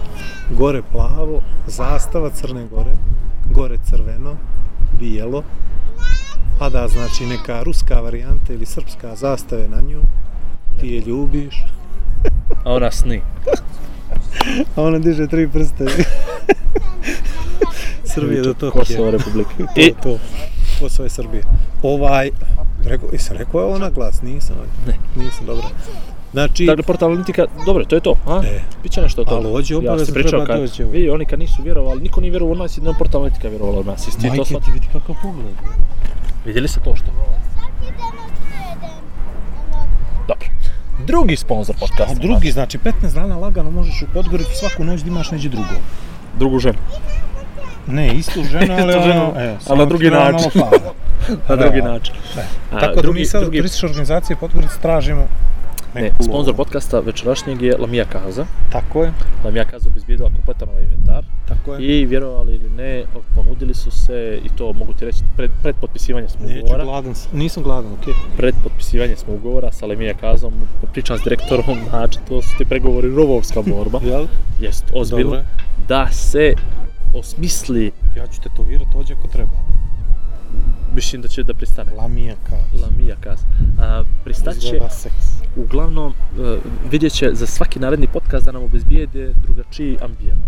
C: gore plavo, zastava Crne Gore, gore crveno, bijelo, pa da znači neka ruska varijanta ili srpska zastave na nju, ti je ljubiš,
D: A ona sni.
C: a ona diže tri prste. Srbije do Tokija.
D: Kosovo Republike. I,
C: to, to. Kosovo je Srbije. Ovaj, rekao, jesam rekao je ona glas, nisam, ovaj. nisam, dobro. Znači,
D: dakle, portal analitika, dobro, to je to. A?
C: E.
D: Biće nešto od toga.
C: Ali hoće
D: ja
C: obavezno
D: sam pričao
C: treba
D: kad,
C: doći, evo.
D: vidi, oni kad nisu vjerovali, niko nije vjerovao u nas, jedino portal analitika je vjerovala u nas. Jesi ti to
C: majke ti
D: shvatio?
C: vidi kakav pogled.
D: Vidjeli ste to što? Dobro. Drugi sponsor
C: A
D: podcasta.
C: drugi, znači 15 dana lagano možeš u Podgoricu svaku noć da imaš neđe drugo.
D: Drugu ženu.
C: Ne, istu ženu, ali
D: Istu ženu,
C: ono,
D: ali
C: e,
D: na
C: samo
D: drugi
C: što je ono
D: način.
C: malo plavo.
D: Na drugi
C: Evo.
D: način. A,
C: E. Tako da
D: drugi-
C: mi sad od
D: drugi-
C: turističke organizacije Podgorica tražimo
D: Ne,
C: neku
D: sponsor
C: lovu.
D: podcasta večerašnjeg je Lamija Kaza.
C: Tako je,
D: Lamija Kaza obizbjedila kompletan ovaj inventar.
C: tako je.
D: I vjerovali ili ne, ponudili su se, i to mogu ti reći, pred, pred potpisivanje smo
C: Neću
D: ugovora.
C: gladan, s- nisam gladan, okej.
D: Pred potpisivanje smo ugovora sa Lemija Kazom, pričam s direktorom, znači to su ti pregovori, rovovska borba,
C: Jel?
D: jest
C: Dobro
D: ozbiljno,
C: je.
D: da se osmisli,
C: Ja ću tetovirat ođe ako treba.
D: mislim da će da pristane.
C: Lamija kao.
D: Lamija Kaz. A, pristaće,
C: Izgleda seks.
D: uglavnom, e, vidjet će za svaki naredni podcast da nam obezbijede drugačiji ambijent.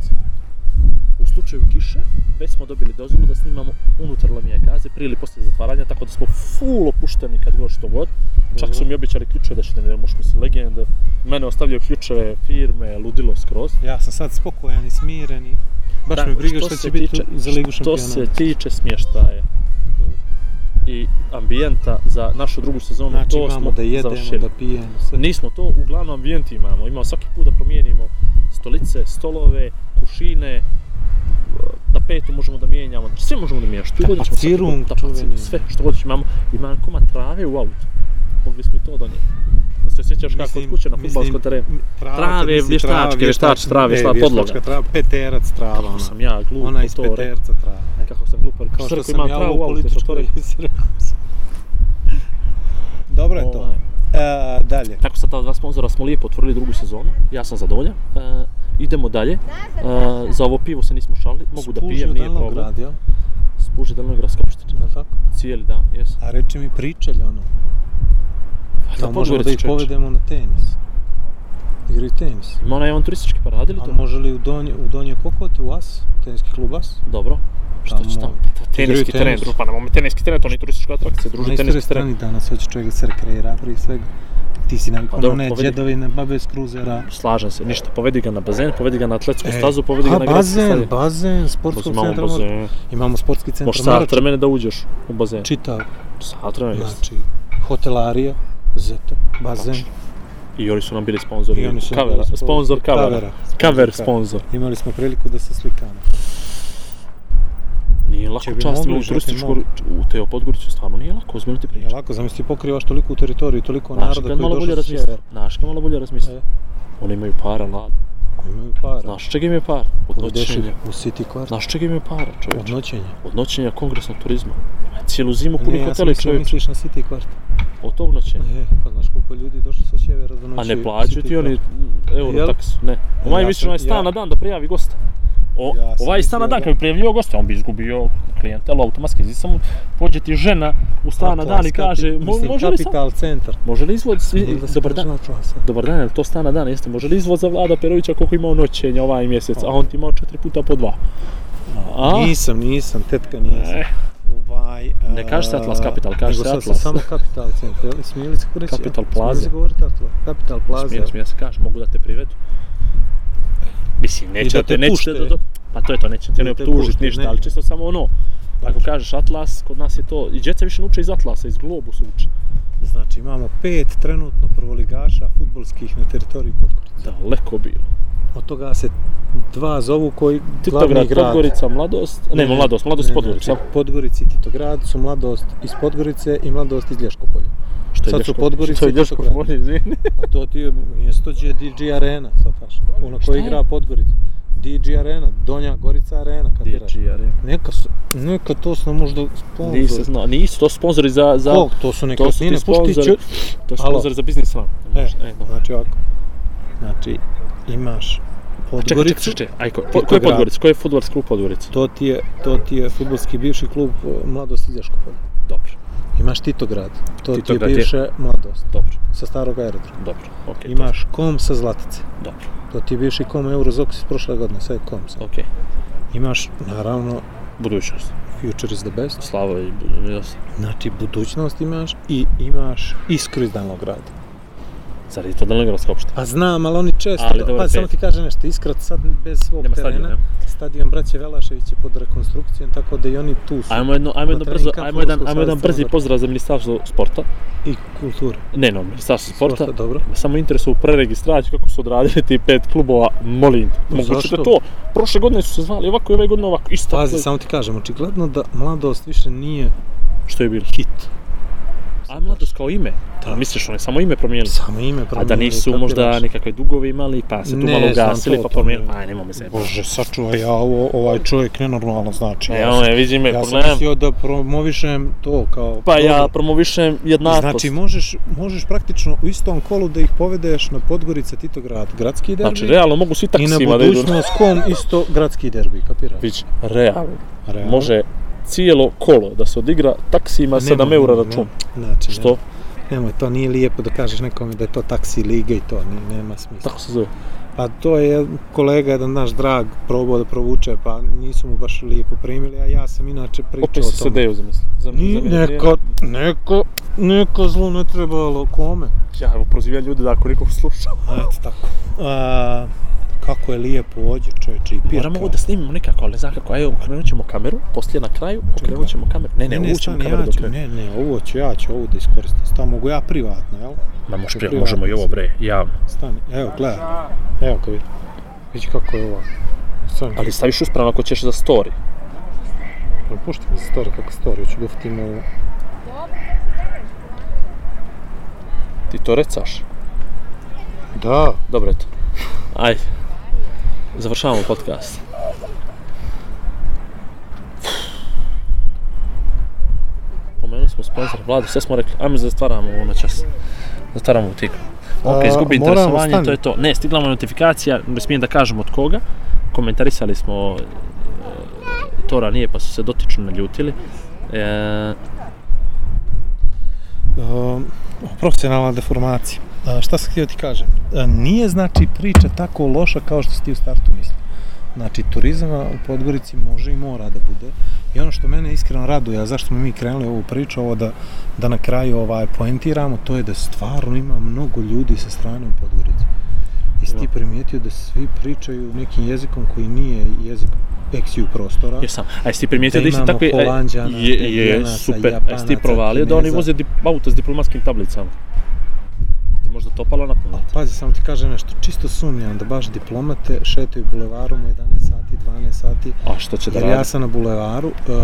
D: U slučaju kiše, već smo dobili dozvolu da snimamo unutar Lamija Gaze, prije ili poslije zatvaranja, tako da smo full opušteni kad god što god. Čak
C: Dobro.
D: su mi običali ključeve da što ne možeš misli legende. Mene ostavljaju ključeve firme, ludilo skroz.
C: Ja sam sad spokojan i smiren i baš me briga što,
D: se
C: će biti
D: tiče-
C: u- za ligu
D: Što
C: šampiona.
D: se tiče smještaja i ambijenta za našu drugu sezonu,
C: Znači
D: ono, to smo
C: imamo da jedemo,
D: završili.
C: da pijemo, sve.
D: Nismo to, uglavnom ambijent imamo. Imamo svaki put da promijenimo stolice, stolove, kušine, tapetu možemo da mijenjamo, znači sve možemo da mijenjamo, što god ćemo
C: Tapacirung
D: tapacirung,
C: čuveni.
D: sve što god ćemo imamo, ima komad trave u autu, mogli smo i to donijeti. Da se osjećaš kako kod kuće na futbalskom terenu.
C: Trava,
D: Trave,
C: kad mislim,
D: vještačke,
C: trava,
D: vještač, trava,
C: e,
D: vještač,
C: vještačka
D: podloga.
C: trava, peterac trava,
D: Kako
C: ona.
D: sam ja glup,
C: ona iz
D: to rekao.
C: peterca trava. E,
D: Kako sam glup, ali
C: Kao ono. što
D: sam
C: sam
D: ja
C: ja
D: travu u
C: ovo
D: autu, što to
C: političko
D: rekao.
C: Dobro je to.
D: Ovaj.
C: E, dalje.
D: Tako sa ta dva sponzora smo lijepo otvorili drugu sezonu, ja sam zadovoljan. E, idemo dalje, e, za ovo pivo se nismo šalili, mogu da pijem, nije problem.
C: Grad, jel?
D: Spuže Dalenogradska opština,
C: Je li tako?
D: cijeli dan, jes.
C: A reče mi pričalj ono.
D: Pa,
C: Da možemo da ih povedemo na tenis. Igri tenis.
D: Ima onaj on turistički parad ili
C: A
D: to?
C: može li u Donje, u donje Kokote, u As, teniski klub As?
D: Dobro. Što će tamo?
C: Tamo-
D: Teniski
C: Igraju
D: teren,
C: tenis. No
D: pa nemamo teniski teren, to nije turistička atrakcija, druži
C: Na istoj
D: teniski teren.
C: strani danas hoće čovjek da se rekreira prije svega. Ti si nam
D: dobro,
C: ono ne,
D: povedi.
C: djedovine, babe iz kruzera.
D: Slažem se, ništa, povedi ga na bazen, povedi ga na atletsku
C: E,
D: stazu, povedi ga
C: A
D: na gradsku
C: bazen,
D: stadion.
C: bazen, sportskog
D: Uzimamo
C: centra. Mora-
D: bazen.
C: Imamo sportski centar.
D: Možeš
C: Morač,
D: sat vremena da uđeš u bazen.
C: Čitav,
D: Sat vremena, jes.
C: znači, hotelarija, zeta, bazen.
D: Tačno. I oni su nam bili sponzori.
C: I oni su nam
D: Znači, Kavera,
C: bili sponzori.
D: sponzor kavera.
C: Kavera.
D: Kaver
C: Kaver.
D: sponzor.
C: Imali smo priliku da se slikamo.
D: Nije lako
C: Če bi
D: čast
C: mogli,
D: u
C: če bi
D: turističku,
C: mogli.
D: u te Podgoricu stvarno nije lako, ozbiljno ti
C: Je
D: pričam.
C: lako, zamisli pokrivaš toliku teritoriju, toliko
D: Znaš,
C: naroda
D: kad
C: koji
D: malo
C: je
D: bolje
C: došao sa
D: razmisli.
C: sjevera.
D: Znaš, kad malo bolje razmisli.
C: E.
D: Oni imaju para, lad.
C: Koji imaju para.
D: Znaš čega im je para? Od noćenja.
C: Odešli u City Quart.
D: Znaš čega im je para,
C: Od
D: čovječe?
C: noćenja.
D: Od noćenja kongresnog turizma. Cijelu zimu
C: Ne,
D: puni
C: ja sam
D: hoteli,
C: mislio,
D: čovječe.
C: misliš na City Quart.
D: Od tog noćenja.
C: E, pa znaš koliko ljudi je došlo sa sjevera do
D: A
C: noći.
D: ne
C: u
D: plaćaju
C: City
D: ti oni
C: Quart.
D: euro
C: Znači, Jel?
D: taksu, ne. Ovaj
C: Ja
D: misli
C: sam-
D: onaj stan
C: ja-
D: na dan da prijavi gosta. O,
C: Ja sam
D: ovaj stan na
C: mislio
D: dan
C: da-
D: kad bi prijavljivao gosta, on bi izgubio klijentelu automatski. Znači samo pođe ti žena u stan na dan i
C: Atlas,
D: kaže,
C: kapi-
D: "Mo-
C: mislim,
D: može li sam?
C: Capital Centar.
D: Može li izvod, svi-
C: Ili se
D: dobar dan,
C: kaže Atlasa.
D: Dobar dan, je li to stana dan, jeste, može li izvoz za Vlada Perovića koliko imao noćenja ovaj mjesec, a on ti imao četiri puta po dva? A?
C: Nisam, nisam, tetka nisam.
D: E,
C: Ovaj, Ovaj,
D: Ne kaže se Atlas Capital, kaže
C: nego
D: se
C: sad
D: Atlas.
C: samo Capital Centar, jel? Smije li se reći?
D: Capital
C: Smije li
D: Plaza.
C: se govoriti Atlas? Capital Plaza.
D: Smije, smije se kaže, mogu da te privedu. Mislim, neće
C: da
D: da
C: te
D: te, neće
C: pušte.
D: te, do, do, pa to je to, neće te
C: Da
D: ne
C: te
D: optužiti
C: pušte,
D: ništa,
C: ne. Znači.
D: ali čisto samo ono, ako kažeš Atlas, kod nas je to, i djeca više ne uče iz Atlasa, iz Globusa uče.
C: Znači imamo pet trenutno prvoligaša futbolskih na teritoriji Podgorice.
D: Daleko bilo.
C: Od toga se dva zovu koji glavni
D: Titograd,
C: grad.
D: Podgorica, Mladost, ne, ne Mladost, Mladost
C: ne,
D: ne, Podgorica,
C: znači, Podgorici i Titograd su mladost iz Podgorice i mladost iz Lješkopolja.
D: što
C: sad su
D: Ljaško-
C: Podgorica
D: što je
C: i
D: Ljaško
C: Titograd.
D: bolje, izvini.
C: A to ti je mjesto gdje je DG Arena, shvataš? Ono
D: Šta
C: koji
D: je?
C: igra Podgorica. DG Arena, Donja Gorica Arena, kapiraš?
D: DG Arena.
C: Neka, su, neka to su nam možda sponzori.
D: Nisi znao, nisu to sponzori za, za,
C: Kog? To su
D: to su ti
C: nekretnine, pušti
D: sponzori,
C: ću...
D: to su
C: Alo.
D: sponzori za biznis run.
C: E,
D: no.
C: znači ovako. Znači, imaš
D: Čekaj,
C: Podgoricu.
D: čekaj, čekaj, aj, ko, ko, ko je
C: Titograd.
D: Podgorica, koji je futbolski klub Podgorica?
C: To ti je, to ti je futbolski bivši klub eh, Mladost iz Jaškopolja.
D: Dobro,
C: Imaš Titograd, to
D: Titograd
C: ti
D: je-
C: je bivše Mladost,
D: dobro,
C: sa starog aerodroma.
D: dobro, okej, E, to-
C: Imaš kom sa Zlatice,
D: dobro,
C: to ti je bivši kom Eurozox iz prošle godine, sad je kom sa.
D: okej,
C: Imaš, naravno,
D: budućnost,
C: Future is the best,
D: slava i budućnost.
C: znači budućnost imaš i imaš iskru iz Danlograda.
D: Zar je to Dalenogradska opština?
C: Pa znam, ali oni često,
D: Ali
C: ali,
D: dobro,
C: pa samo
D: pet.
C: ti kažem nešto, iskrat sad bez svog
D: Nema
C: terena,
D: stadion, ne?
C: stadion Braće Velašević je pod rekonstrukcijom, tako da i oni tu su.
D: Ajmo jedno, ajmo jedno
C: Na
D: brzo,
C: trening kamp
D: ajmo jedan,
C: Fudbalskog
D: ajmo jedan
C: saveza
D: brzi
C: Crnogorske.
D: pozdrav za Ministarstvo sporta.
C: I kultura.
D: Ne, no, Ministarstvo sporta.
C: Sporta, dobro.
D: Me Samo interesu u preregistraciju kako su odradili ti pet klubova, molim. te.
C: No,
D: Moguće
C: zašto?
D: da to, prošle godine su se zvali ovako i ove godine ovako, isto.
C: Pazi, samo ti kažem, očigledno da mladost više nije
D: Što je bilo?
C: hit.
D: A mladost kao ime?
C: Da.
D: Misliš, ono je samo ime promijenili?
C: Samo ime
D: A
C: promijenili.
D: da nisu
C: kapiraš?
D: možda nekakve dugove imali, pa se tu
C: Ne,
D: malo
C: znam
D: ugasili,
C: to,
D: pa
C: to
D: promijenili.
C: ne.
D: Aj, nemoj me zajebati.
C: Bože, sačuvaj ja ovo, ovaj čovjek nenormalno znači.
D: E, ono je, vidi me,
C: ja sam
D: pogledam.
C: mislio da promovišem to kao...
D: Pa
C: to.
D: ja pa promovišem jednakost.
C: Znači, možeš, možeš praktično u istom kolu da ih povedeš na Podgorica, Titograd, gradski derbi.
D: Znači, realno mogu svi
C: I na
D: taksima da idu. na-
C: budućnost kom isto gradski derbi, kapiraš?
D: Vić, realno.
C: Realno.
D: Može cijelo kolo da se odigra taksima 7
C: Nemoj,
D: eura
C: nemoj,
D: račun.
C: nemoj. Znači,
D: Što?
C: Nemoj, nemoj, to nije lijepo da kažeš nekome da je to taksi liga i to, ni- nema smisla.
D: Tako se zove.
C: Pa to je kolega jedan naš drag probao da provuče, pa nisu mu baš lijepo primili, a ja sam inače pričao
D: Opet si
C: o
D: se
C: tome.
D: deju zamisli. Zam,
C: Ni, neko, neko, neko zlo ne trebalo kome.
D: Ja evo prozivljam ljude da ako nekog sluša.
C: Eto tako. A, kako je lijepo ođe čovječe i pirka.
D: Moramo ovo da snimimo nekako, ali znaš kako, evo, okrenut ćemo kameru, poslije na kraju, okrenut ćemo kameru. Ne, ne,
C: Ne,
D: ne
C: ne,
D: ućemo
C: stani,
D: kameru
C: ja
D: do
C: ću,
D: kraja.
C: ne, ne, ovo ću, ja ću ovo da iskoristim. Sta mogu ja privatno, jel?
D: Ma može,
C: Privatno
D: možemo i ovo,
C: se.
D: bre, javno.
C: Stani, evo, gledaj. Evo ga vidi. Vidi kako je ovo. Stani,
D: Ali staviš uspravno ako ćeš za story.
C: ali pušti mi story kako story, hoću da uftim ovo.
D: Ti to recaš.
C: Da,
D: Dobro, eto. Ajde. Završavamo podcast. Pomenuli smo sponsor vladu, sve smo rekli, ajmo zatvaramo ovo na čas. Zatvaramo u tiku. Ok,
C: A,
D: izgubi
C: moramo,
D: interesovanje,
C: stani.
D: to je to. Ne, stigla mu je notifikacija, ne smijem da kažem od koga. Komentarisali smo, e, Tora nije pa su se dotično naljutili. E,
C: Um, profesionalna deformacija. A, šta sam htio ti kažem? A, nije znači priča tako loša kao što si ti u startu mislio. Znači, turizma u Podgorici može i mora da bude. I ono što mene iskreno raduje, a zašto smo mi krenuli ovu priču, ovo da, da na kraju ovaj poentiramo, to je da stvarno ima mnogo ljudi sa strane u Podgorici. I si ti primijetio da svi pričaju nekim jezikom koji nije jezik XU prostora.
D: Jesam. A jesi ti primijetio
C: Da
D: da isti
C: imamo
D: takve... e,
C: Holanđana,
D: je, je,
C: Belgijanaca,
D: super. A jesi ti
C: Japanaca,
D: provalio da oni
C: Kineza?
D: voze di, auta s diplomatskim tablicama? Jesi Ti možda to palo na
C: Ali
D: pamet.
C: pazi, samo ti kažem nešto, čisto sumnjam da baš diplomate šetaju bulevarom u 11 sati, 12 sati,
D: A što će da
C: jer
D: radi?
C: ja sam na bulevaru, uh,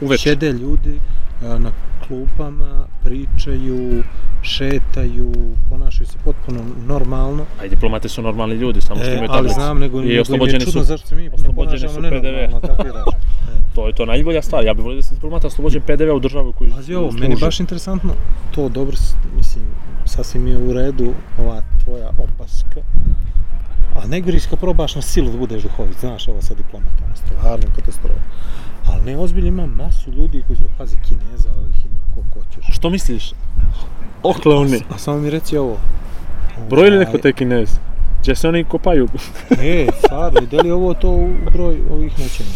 D: Uveče.
C: šede ljudi uh, na klupama, pričaju, šetaju, ponašaju se potpuno normalno,
D: A i diplomate su normalni ljudi, samo što
C: e,
D: imaju
C: ali
D: tablice.
C: znam, nego,
D: I
C: nego im je
D: oslobođeni
C: čudno
D: su.
C: zašto se mi ne
D: oslobođeni
C: ponašamo
D: su PDV.
C: nenormalno, kapiraš.
D: To je to najbolja stvar. Ja bih volio da se diplomata oslobođen PDV u državu koju
C: Pazi ovo,
D: koju
C: meni
D: služe.
C: baš interesantno, to dobro, s- mislim, sasvim je u redu ova tvoja opaska. A negoriska probaš na silu da budeš duhovit, znaš ovo sa diplomatom, stvarno katastrofa. Ali ne, ozbiljno ima masu ljudi koji su, pazi, kineza ovih ima, koliko hoćeš.
D: Što misliš? Oklauni.
C: A samo mi reci ovo. Ovaj,
D: Broj li neko te kinez? Gdje se oni kopaju?
C: E, stvarno, i da li je ovo to u broj ovih noćenja?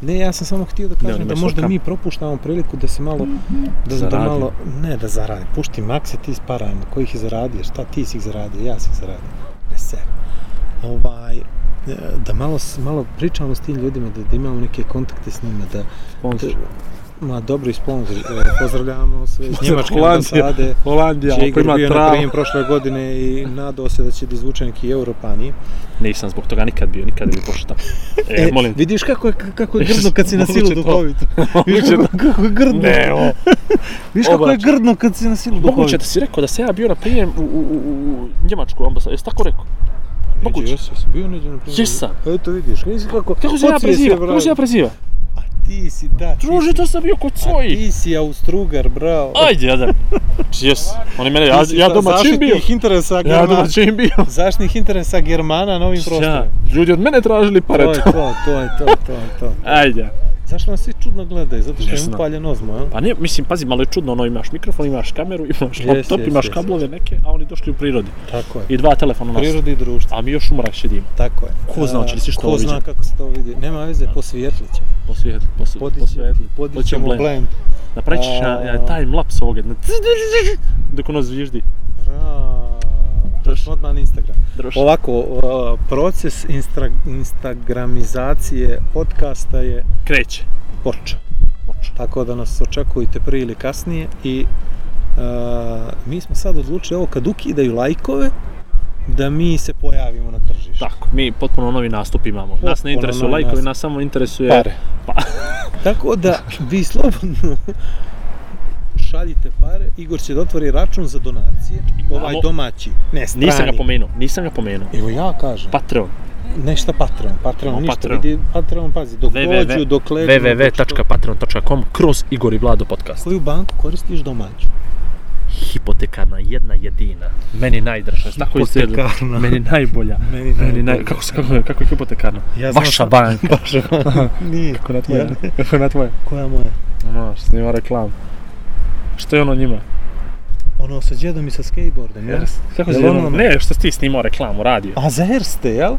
C: Ne, ja sam samo htio da
D: Ne,
C: kažem
D: oni
C: da
D: imaju
C: možda
D: svoj
C: mi propuštamo priliku da se malo, da, da
D: Zaradi.
C: malo, ne da zaradi, pušti makse ti s parama, koji ih je zaradio, šta ti si ih zaradio, ja si ih zaradio, ne se. Ovaj, e, da malo, s- malo pričamo s tim ljudima, da, da imamo neke kontakte s njima, da,
D: Sponsor.
C: ma dobro i sponzor, pozdravljamo sve iz Njemačke
D: Holandija.
C: ambasade.
D: Holandija,
C: Žigor
D: ako ima
C: bio na
D: travu.
C: prijem prošle godine i nadao se da će da izvuče neki Europanije.
D: Nisam zbog toga nikad bio, nikad bi pošao tamo. E, molim te.
C: Vidiš kako je, kako je
D: Vidiš,
C: grdno kad si na silu
D: uče to.
C: duhovit. Vidiš
D: Uče to.
C: kako, kako je grdno.
D: Ne, o,
C: Vidiš kako je
D: obračun.
C: grdno kad si na silu duhovit.
D: moguće da si rekao da se ja bio na prijem u, u, u, u Njemačku ambasadu, jesi tako rekao? moguće.
C: Jesi, jesi bio neđe na primjer.
D: Jesam.
C: Eto vidiš, vidiš kako.
D: Kako se
C: podsvijest
D: ja
C: je,
D: preziva?
C: bravo.
D: Kako se ja preziva?
C: A ti si, da, ti
D: Druže,
C: si.
D: to sam bio kod
C: A
D: svojih.
C: ti si Austrugar, bravo.
D: Ajde, jadan. Jes, oni mene, ja,
C: Ti si
D: ja
C: za-
D: domaćin bio.
C: Zaštitnih interesa
D: Ja
C: Germana.
D: domaćin bio.
C: Zaštitnih interesa Germana na ovim
D: Ja,
C: prostorima.
D: ljudi od mene tražili
C: To
D: pare.
C: je to, to je to, to je to.
D: Ajde.
C: Zašto nas svi čudno gledaju? Zato što
D: Ne
C: im
D: znam.
C: upaljen ozmo, jel?
D: Pa ne, mislim, pazi, malo je čudno, ono, imaš mikrofon, imaš kameru, imaš
C: Jes,
D: laptop,
C: jes,
D: imaš
C: jes.
D: kablove neke, a oni došli u prirodi.
C: Tako je.
D: I dva telefona nas.
C: Prirodi i društvo.
D: A mi još umorak sjedimo.
C: Tako je.
D: Ko zna, hoće li si što
C: Ko
D: ovo
C: zna
D: viđe?
C: kako se to vidi? Nema veze, posvijetlit ćemo.
D: Posvijetli, posvijetli, posvijetli.
C: Podićemo, podićemo blend. blend.
D: Napravit ćeš ja, ja, e, time lapse ovoga. jedne Dok ono zviždi.
C: Bravo. To ćemo odmah na Instagram.
D: Droš.
C: Ovako, uh, proces instra, instagramizacije podcasta je
D: Kreće.
C: počeo.
D: Počeo.
C: Tako da nas očekujte prije ili kasnije i uh, mi smo sad odlučili ovo kad ukidaju lajkove, da mi se pojavimo na tržištu.
D: Tako, mi potpuno novi nastup imamo. nas
C: Potpuno
D: ne interesuju
C: novi
D: lajkovi,
C: nastup.
D: nas samo interesuje...
C: Pare.
D: Pa,
C: Tako da vi slobodno šaljite pare, Igor će da otvori račun za donacije, ovaj
D: Imamo.
C: domaći, ne strani.
D: nisam ga pomenuo, nisam ga pomenuo.
C: Evo ja kažem, pa,
D: Patreon.
C: nešta Patreon, Patreon,
D: Imamo
C: ništa,
D: Patreon.
C: vidi, Patreon, pazi, dok
D: www.
C: dođu, dok ledu, dok
D: www.patreon.com kroz Igor i Vlado podcast.
C: što- Koju banku koristiš domaću?
D: Hipotekarna jedna jedina. Meni najdraža. Tako izgleda.
C: Hipotekarna.
D: Meni najbolja.
C: Meni
D: Meni
C: najbolja.
D: naj... Kako, se- kako, kako je hipotekarna?
C: Ja znam
D: Vaša
C: šta-
D: banka.
C: Baš, nije.
D: Kako na
C: tvoja?
D: tvoje? Kako na tvoje?
C: Koja moja?
D: Maš, Ono, snima reklamu. Što je ono njima?
C: Ono sa djedom i sa skateboardom, jel?
D: Kako
C: Jel
D: se
C: ono
D: ono?
C: ono?
D: Ne, što si ti snimao reklamu, radio.
C: A za Erste, jel?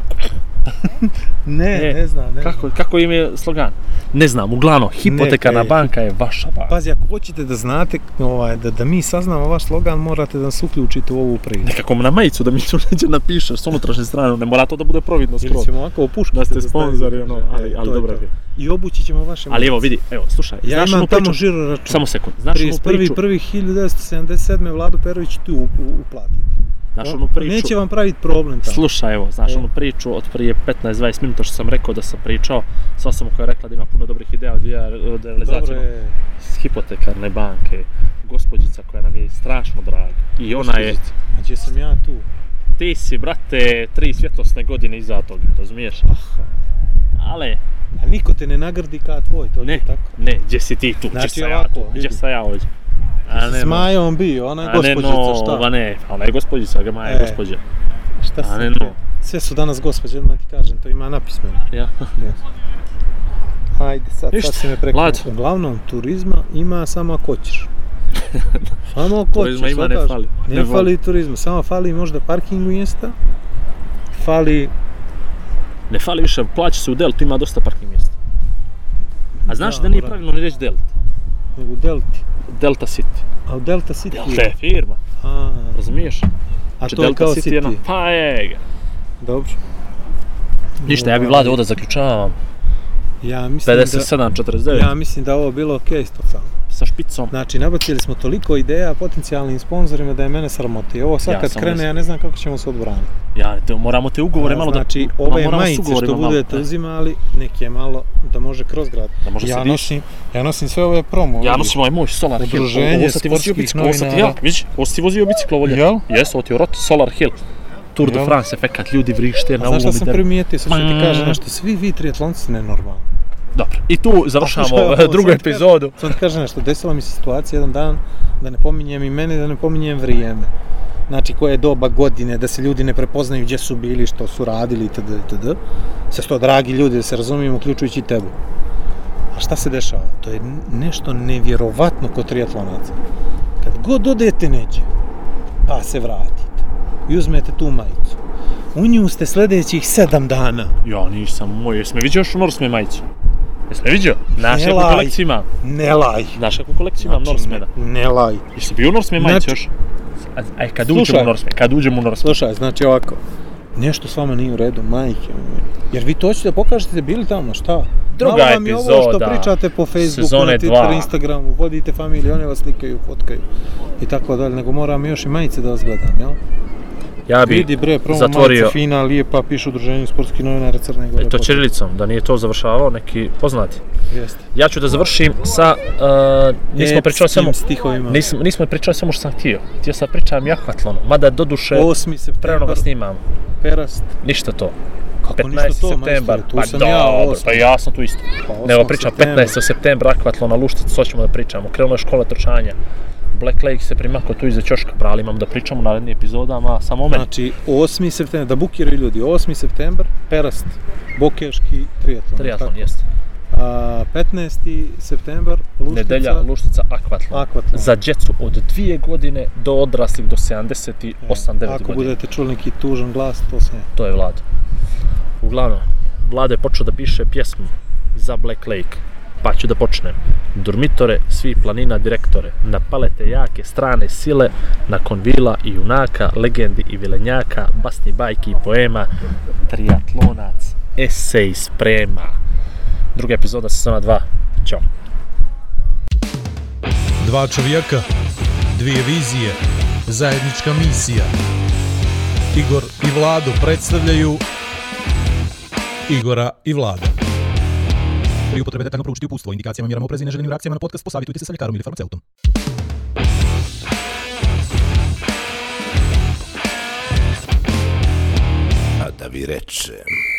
C: ne,
D: E,
C: ne, znam, ne
D: Kako, kako im je slogan? Ne znam, uglavnom, hipotekarna
C: Neka je.
D: banka je vaša banka.
C: Pazi, ako hoćete da znate, ovaj, da, da mi saznamo vaš slogan, morate da nas uključite u ovu priču.
D: Nekako mu na majicu da mi tu neđe napišeš s unutrašnje strane, ne mora to da bude providno
C: Ili
D: skroz.
C: ćemo ovako opuškati.
D: Da ste sponzori, ono,
C: E,
D: ali, ali dobro je. bio.
C: I obući ćemo vaše
D: Ali evo, vidi, evo, slušaj,
C: Ja
D: znaš
C: imam
D: onu
C: tamo
D: priču,
C: žiro račun.
D: samo sekund, znaš onu
C: 31.
D: priču,
C: prvi 1977. Vlado Perović tu u- u- uplatiti. Pa
D: znaš onu priču,
C: Neće vam praviti problem tamo.
D: Slušaj, evo, znaš
C: E.
D: onu priču od prije 15-20 minuta što sam rekao da sam pričao, sva sam koja je rekla da ima puno dobrih ideja od ideja
C: Dobro
D: od realizacije
C: je.
D: s hipotekarne banke, gospođica koja nam je strašno draga. I ona je,
C: A gdje sam ja tu?
D: ti si, brate, tri svjetlosne godine iza toga, razumiješ? Ale,
C: A niko te ne nagradi kao tvoj, to je
D: Ne.
C: tako.
D: ne, gdje si ti tu,
C: Znači
D: gdje sam ja
C: ovako,
D: tu,
C: vidi.
D: gdje sam ja ovdje? A
C: S Majom bio, ona je
D: a ne
C: gospođica,
D: no,
C: šta?
D: ba ne, a ona je gospođica, ga Maja
C: E.
D: je gospođa.
C: Šta
D: A
C: si
D: ne
C: ti?
D: no,
C: Sve su danas gospođe, odmah ti kažem, to ima napismeno.
D: ja.
C: Ajde, sad,
D: Ništa,
C: sad si me prekinuo.
D: Vlad.
C: Uglavnom, turizma ima samo ako hoćeš. Samo ako hoćeš.
D: Turizma ima,
C: sad
D: ne
C: kažem.
D: fali.
C: Ne,
D: Ne fali.
C: fali turizma, samo fali možda parking mjesta, fali
D: Ne fali više, plaća se u Deltu, ima dosta parking mjesta. A znaš
C: Da,
D: da, nije
C: brate.
D: pravilno ni reći Delt,
C: nego u Delti.
D: Delta City.
C: A u Delta City
D: Delta je firma,
C: A,
D: razumiješ?
C: a
D: Znači,
C: to je kao City.
D: jedna- Pa je ga.
C: Dobro.
D: Ništa, ja bi
C: Ovaj,
D: vlade ovdje zaključavam.
C: Ja mislim, da,
D: 57-49
C: ja mislim da je ovo bilo okej okay, totalno.
D: sa špicom.
C: Znači, nabacili smo toliko ideja potencijalnim sponzorima da je mene sramota. I ovo sad
D: Ja
C: kad
D: sam
C: krene,
D: uzeo.
C: ja ne znam kako ćemo se odbraniti.
D: Ja, te, moramo te ugovore malo
C: znači,
D: da...
C: ove
D: moramo s
C: majice što
D: ugovorima malo,
C: budete
D: e,
C: uzimali, nek je malo da može kroz grad.
D: Da može
C: ja
D: se diš.
C: nosim, ja nosim sve ove promo.
D: Ja
C: vidiš.
D: nosim ovaj moj Solar Hill.
C: Udruženje
D: Ovo sad ti vozio
C: sportskih
D: biciklo, ovo sad ti ja,
C: novinara.
D: vidiš, ovo sad ti vozio biciklo volje.
C: Jel?
D: Jes, ovo ti je rot Solar Hill. Tour de
C: Jel?
D: France, efekat, ljudi vrište na
C: Znaš šta
D: ulomi.
C: sam
D: der-
C: primijetio, sad ću ti
D: Ma.
C: kažem nešto, svi vi triatlonci ste nenormalni.
D: Dobro, i tu završamo
C: Slušaj,
D: eh,
C: ovo,
D: drugu
C: sad ti kažem-
D: epizodu.
C: Sad ti kažem nešto, desila mi se situacija jedan dan, da ne pominjem i mene, da ne pominjem vrijeme. Znači, koje je doba godine, da se ljudi ne prepoznaju gdje su bili, što su radili, itd. itd. Sve sto dragi ljudi, da se razumijem, uključujući i tebu. A šta se dešava? To je nešto nevjerovatno kod triatlonaca. Kad god odete neđe, pa se vratite i uzmete tu majicu. U nju ste sljedećih sedam dana.
D: Ja nisam moj, jesme vidio još u Norseman majicu? Jesme vidio? Znaš
C: Ne
D: kakvu
C: laj.
D: kolekciju imam?
C: Ne laj. Znači,
D: Znaš kakvu kolekciju imam Norsemana?
C: ne, ne laj.
D: Jesi bio u Norseman
C: Znači-
D: majicu još? A, aj, kad uđemo
C: Slušaj.
D: u Norseman, kad uđemo u Norseman.
C: Slušaj, znači ovako, nešto s vama nije u redu, majke mi. Jer vi to hoćete da pokažete da bili tamo, šta?
D: Druga
C: Malo vam je ovo što
D: epizoda
C: pričate po Facebooku,
D: sezone
C: na Twitteru,
D: dva.
C: Instagramu, vodite familiju, one vas slikaju, fotkaju i tako dalje, nego moram još i majice da vas gledam, jel?
D: Ja bi
C: Vidi bre, promo
D: zatvorio.
C: majica fina, lijepa, piše udruženje sportskih novinara Crne Gore. pa
D: E, to
C: Podcast.
D: Čirilicom, da nije to završavao neki poznati.
C: Jeste.
D: Ja ću da završim sa, uh, nismo pričali
C: Epskim
D: samo,
C: stihovima.
D: nismo, nismo pričali samo što sam htio. Htio sam pričam jahvatlonu, mada doduše
C: Osmi
D: prerano
C: septembar,
D: ga snimam,
C: perast.
D: ništa to.
C: Kako
D: 15.
C: ništa to,
D: septembar,
C: majstore, tu
D: pa
C: sam
D: dobro,
C: ja, osmi.
D: pa ja sam tu isto.
C: Pa, osmog
D: Nego pričam
C: septembra.
D: 15. septembra, akvatlona, luštica, to ćemo da pričamo. Krenula je škola trčanja. Black Lake se primako tu iza ćoška, brali imam da pričamo u narednim epizodama, samo meni.
C: Znači, 8. septembar, da bukiraju ljudi, 8. septembar, Perast, Bokeški triatlon.
D: Triatlon,
C: tako?
D: jeste.
C: A, 15. septembar, Luštica,
D: Nedelja, luštica, akvatlon.
C: Akvatlon.
D: za djecu od dvije godine do odraslih do 78-9
C: E, Ako
D: godina.
C: budete čuli neki tužan glas, to sam ja.
D: To je Vlado. Uglavnom, Vlado je počeo da piše pjesmu za Black Lake. Pa ću da počnem. Dormitore, svi planina direktore, napale te jake strane sile, nakon vila i junaka, legendi i vilenjaka, basni bajki i poema, triatlonac, esej sprema. Druga epizoda sezona 2. Ćao.
A: Dva čovjeka, dvije vizije, zajednička misija. Igor i Vladu predstavljaju Igora i Vlada. Pri upotrebe detaljno proučiti upustvo, indikacijama, mjerama oprezi i neželjenim reakcijama na podcast posavitujte se sa ljekarom ili farmaceutom.
B: A da pa vi rečem.